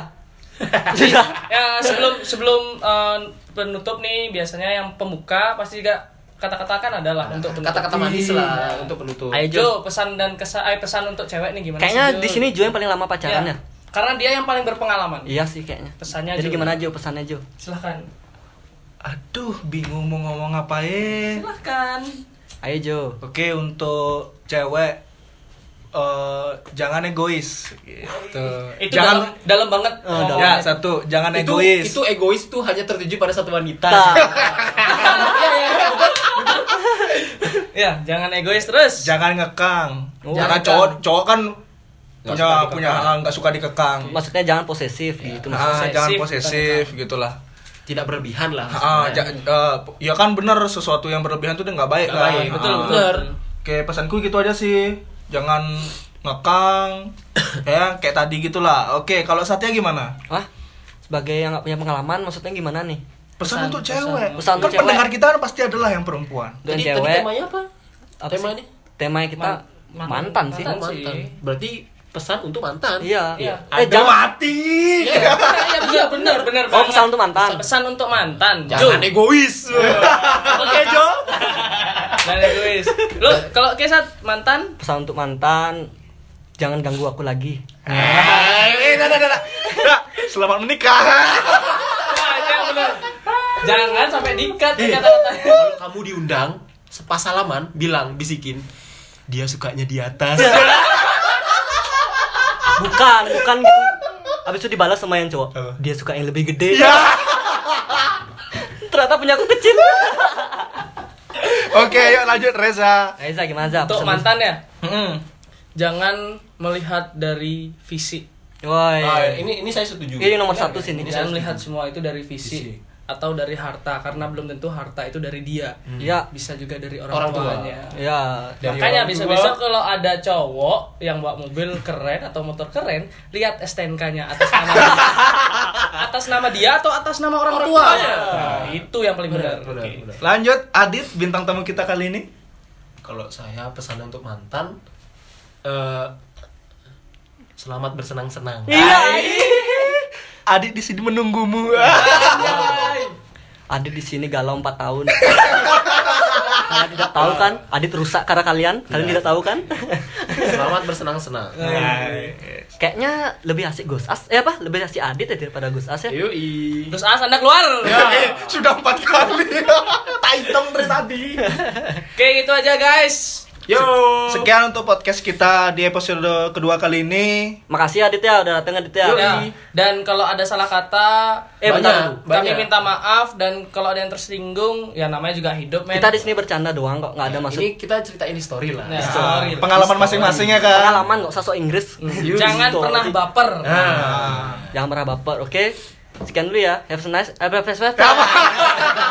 S2: sudah
S3: ya sebelum sebelum eh, penutup nih biasanya yang pembuka pasti juga kata-katakan adalah untuk penutup.
S4: kata-kata manis lah untuk penutup
S2: Ayo, Jo.
S3: Jo, pesan dan kesan eh, pesan untuk cewek nih gimana
S2: kayaknya
S3: sih, Jo?
S2: di sini Jo yang paling lama
S3: Ya,
S2: pacaran ya
S3: karena dia yang paling berpengalaman
S2: iya sih kayaknya
S3: Pesannya,
S2: jadi
S3: Jo.
S2: gimana Jo pesannya Jo
S3: silahkan
S1: Aduh, bingung mau ngomong ngapain.
S3: silahkan
S2: ayo Jo
S1: Oke, untuk cewek eh, jangan egois. Gitu.
S3: itu
S1: jangan
S3: dalam dalam banget
S2: Oh, dalam.
S1: ya
S3: ngomongnya.
S1: satu, jangan
S4: itu
S1: egois.
S4: itu egois tuh hanya tertuju pada satu wanita
S2: Ta.
S3: Iya, iya, iya, betul, betul. ya jangan egois terus
S1: jangan ngekang.
S2: Oh,
S1: Karena
S3: jangan
S1: cowok cowok kan punya
S4: Nggak suka dikekang.
S1: punya hal nggak suka dikekang.
S2: maksudnya jangan posesif gitu
S1: Ah,
S2: maksudnya
S1: jangan
S3: bukan
S1: posesif gitulah.
S4: tidak berlebihan lah
S1: Ah,
S4: maksudnya.
S1: ja- eh, ya kan benar sesuatu yang berlebihan itu udah nggak baik
S4: Nggak
S1: kan.
S4: baik, betul,
S1: Ah.
S4: betul.
S1: Oke, pesanku gitu aja sih. Jangan ngekang. ya, kayak tadi gitulah. Oke, kalau Satya gimana?
S2: Wah, sebagai yang nggak punya pengalaman, maksudnya gimana nih?
S1: Pesan,
S3: Pesan,
S1: untuk
S3: pesan.
S1: cewek.
S2: Pesan
S1: kan
S2: untuk cewek.
S1: pendengar kita kan pasti adalah yang perempuan.
S2: Dan
S4: tadi, tadi
S2: cewek,
S4: temanya apa
S2: apa
S4: tema
S2: sih?
S4: ini
S2: tema kita
S3: Man-
S2: Kan
S3: man-
S2: mantan, sih.
S3: mantan. sih.
S4: berarti pesan untuk mantan
S2: Iya.
S3: Iya.
S2: Eh,
S1: Ada
S2: jangan.
S1: mati.
S3: Iya, iya, iya, iya, benar benar
S2: Oh,
S3: banget.
S2: pesan untuk mantan.
S3: pesan untuk mantan
S4: jangan
S3: Jo.
S4: egois
S1: Oke, Jo.
S3: jangan egois lu kalau kesat mantan
S2: Pesan untuk mantan, jangan ganggu aku lagi.
S1: Eh, dah, dah, dah, dah. Dah, Selamat menikah.
S3: Wah, jangan benar. Jangan sampai dikat
S2: Iya.
S3: ya kata-katanya.
S4: kalau kamu diundang sepas salaman bilang bisikin dia sukanya di atas
S2: Bukan, bukan gitu. Abis itu dibalas sama yang cowok.
S1: Apa?
S2: Dia suka yang lebih gede.
S1: Ya.
S2: Ternyata punya aku kecil.
S1: Oke, yuk lanjut Reza.
S2: Reza gimana Za?
S3: Untuk
S2: Pesan-
S3: mantan ya,
S1: Mm-mm.
S3: jangan melihat dari fisik.
S2: Woi.
S4: Ah, ini ini saya setuju.
S2: Ini nomor satu sih ini.
S3: Ini jangan melihat semua itu dari fisik
S4: Fisik.
S3: atau dari harta karena belum tentu harta itu dari dia.
S2: Iya.
S3: Bisa juga dari orang,
S4: Orang tua.
S3: tuanya.
S2: Iya.
S4: Dari
S3: Makanya
S4: orang
S3: bisa-bisa
S4: tua.
S3: kalau ada cowok yang bawa mobil keren atau motor keren, lihat STNK-nya atas nama dia. atas nama dia atau atas nama orang, tua. Nah, itu yang paling benar.
S4: Benar,
S3: Oke.
S4: benar.
S1: Lanjut Adit bintang tamu kita kali ini.
S4: Kalau saya pesannya untuk mantan eh selamat bersenang-senang.
S2: Iya.
S1: Adit di sini menunggumu.
S2: Adit di sini galau 4 tahun. Kalian tidak tahu kan? Adit rusak karena kalian. Kalian
S4: Iya.
S2: tidak tahu kan?
S4: selamat bersenang-senang.
S1: Iya. Ya.
S2: Kayaknya lebih asik Gus As. Eh apa? Lebih asik Adit ya daripada Gus As
S4: Iya.
S2: ya.
S4: Yoi.
S3: Terus as Anda keluar.
S1: Eh, sudah empat kali. Taitong dari tadi.
S3: Oke, gitu aja guys.
S4: Yo.
S1: Sekian untuk podcast kita di episode kedua kali ini.
S2: Makasih Adit ya udah datang Adit ya.
S3: Ya. Dan kalau ada salah kata,
S2: Eh, bentar
S4: Banyak,
S2: dulu.
S4: banyak.
S3: kami minta maaf dan kalau ada yang tersinggung, ya namanya juga hidup, men.
S2: Kita di sini bercanda doang kok, nggak ada maksud.
S4: Iya, Ini kita ceritain di story lah.
S1: Iya.
S3: Nah, sorry lah.
S1: Pengalaman masing-masing ya kan.
S2: Pengalaman nggak usah sok Inggris.
S3: Hmm. Iya,
S2: gitu.
S3: Jangan
S2: Story.
S3: pernah baper.
S4: Nah.
S2: Jangan pernah baper, oke? Sekian dulu ya. Have a nice. eh, Have a nice.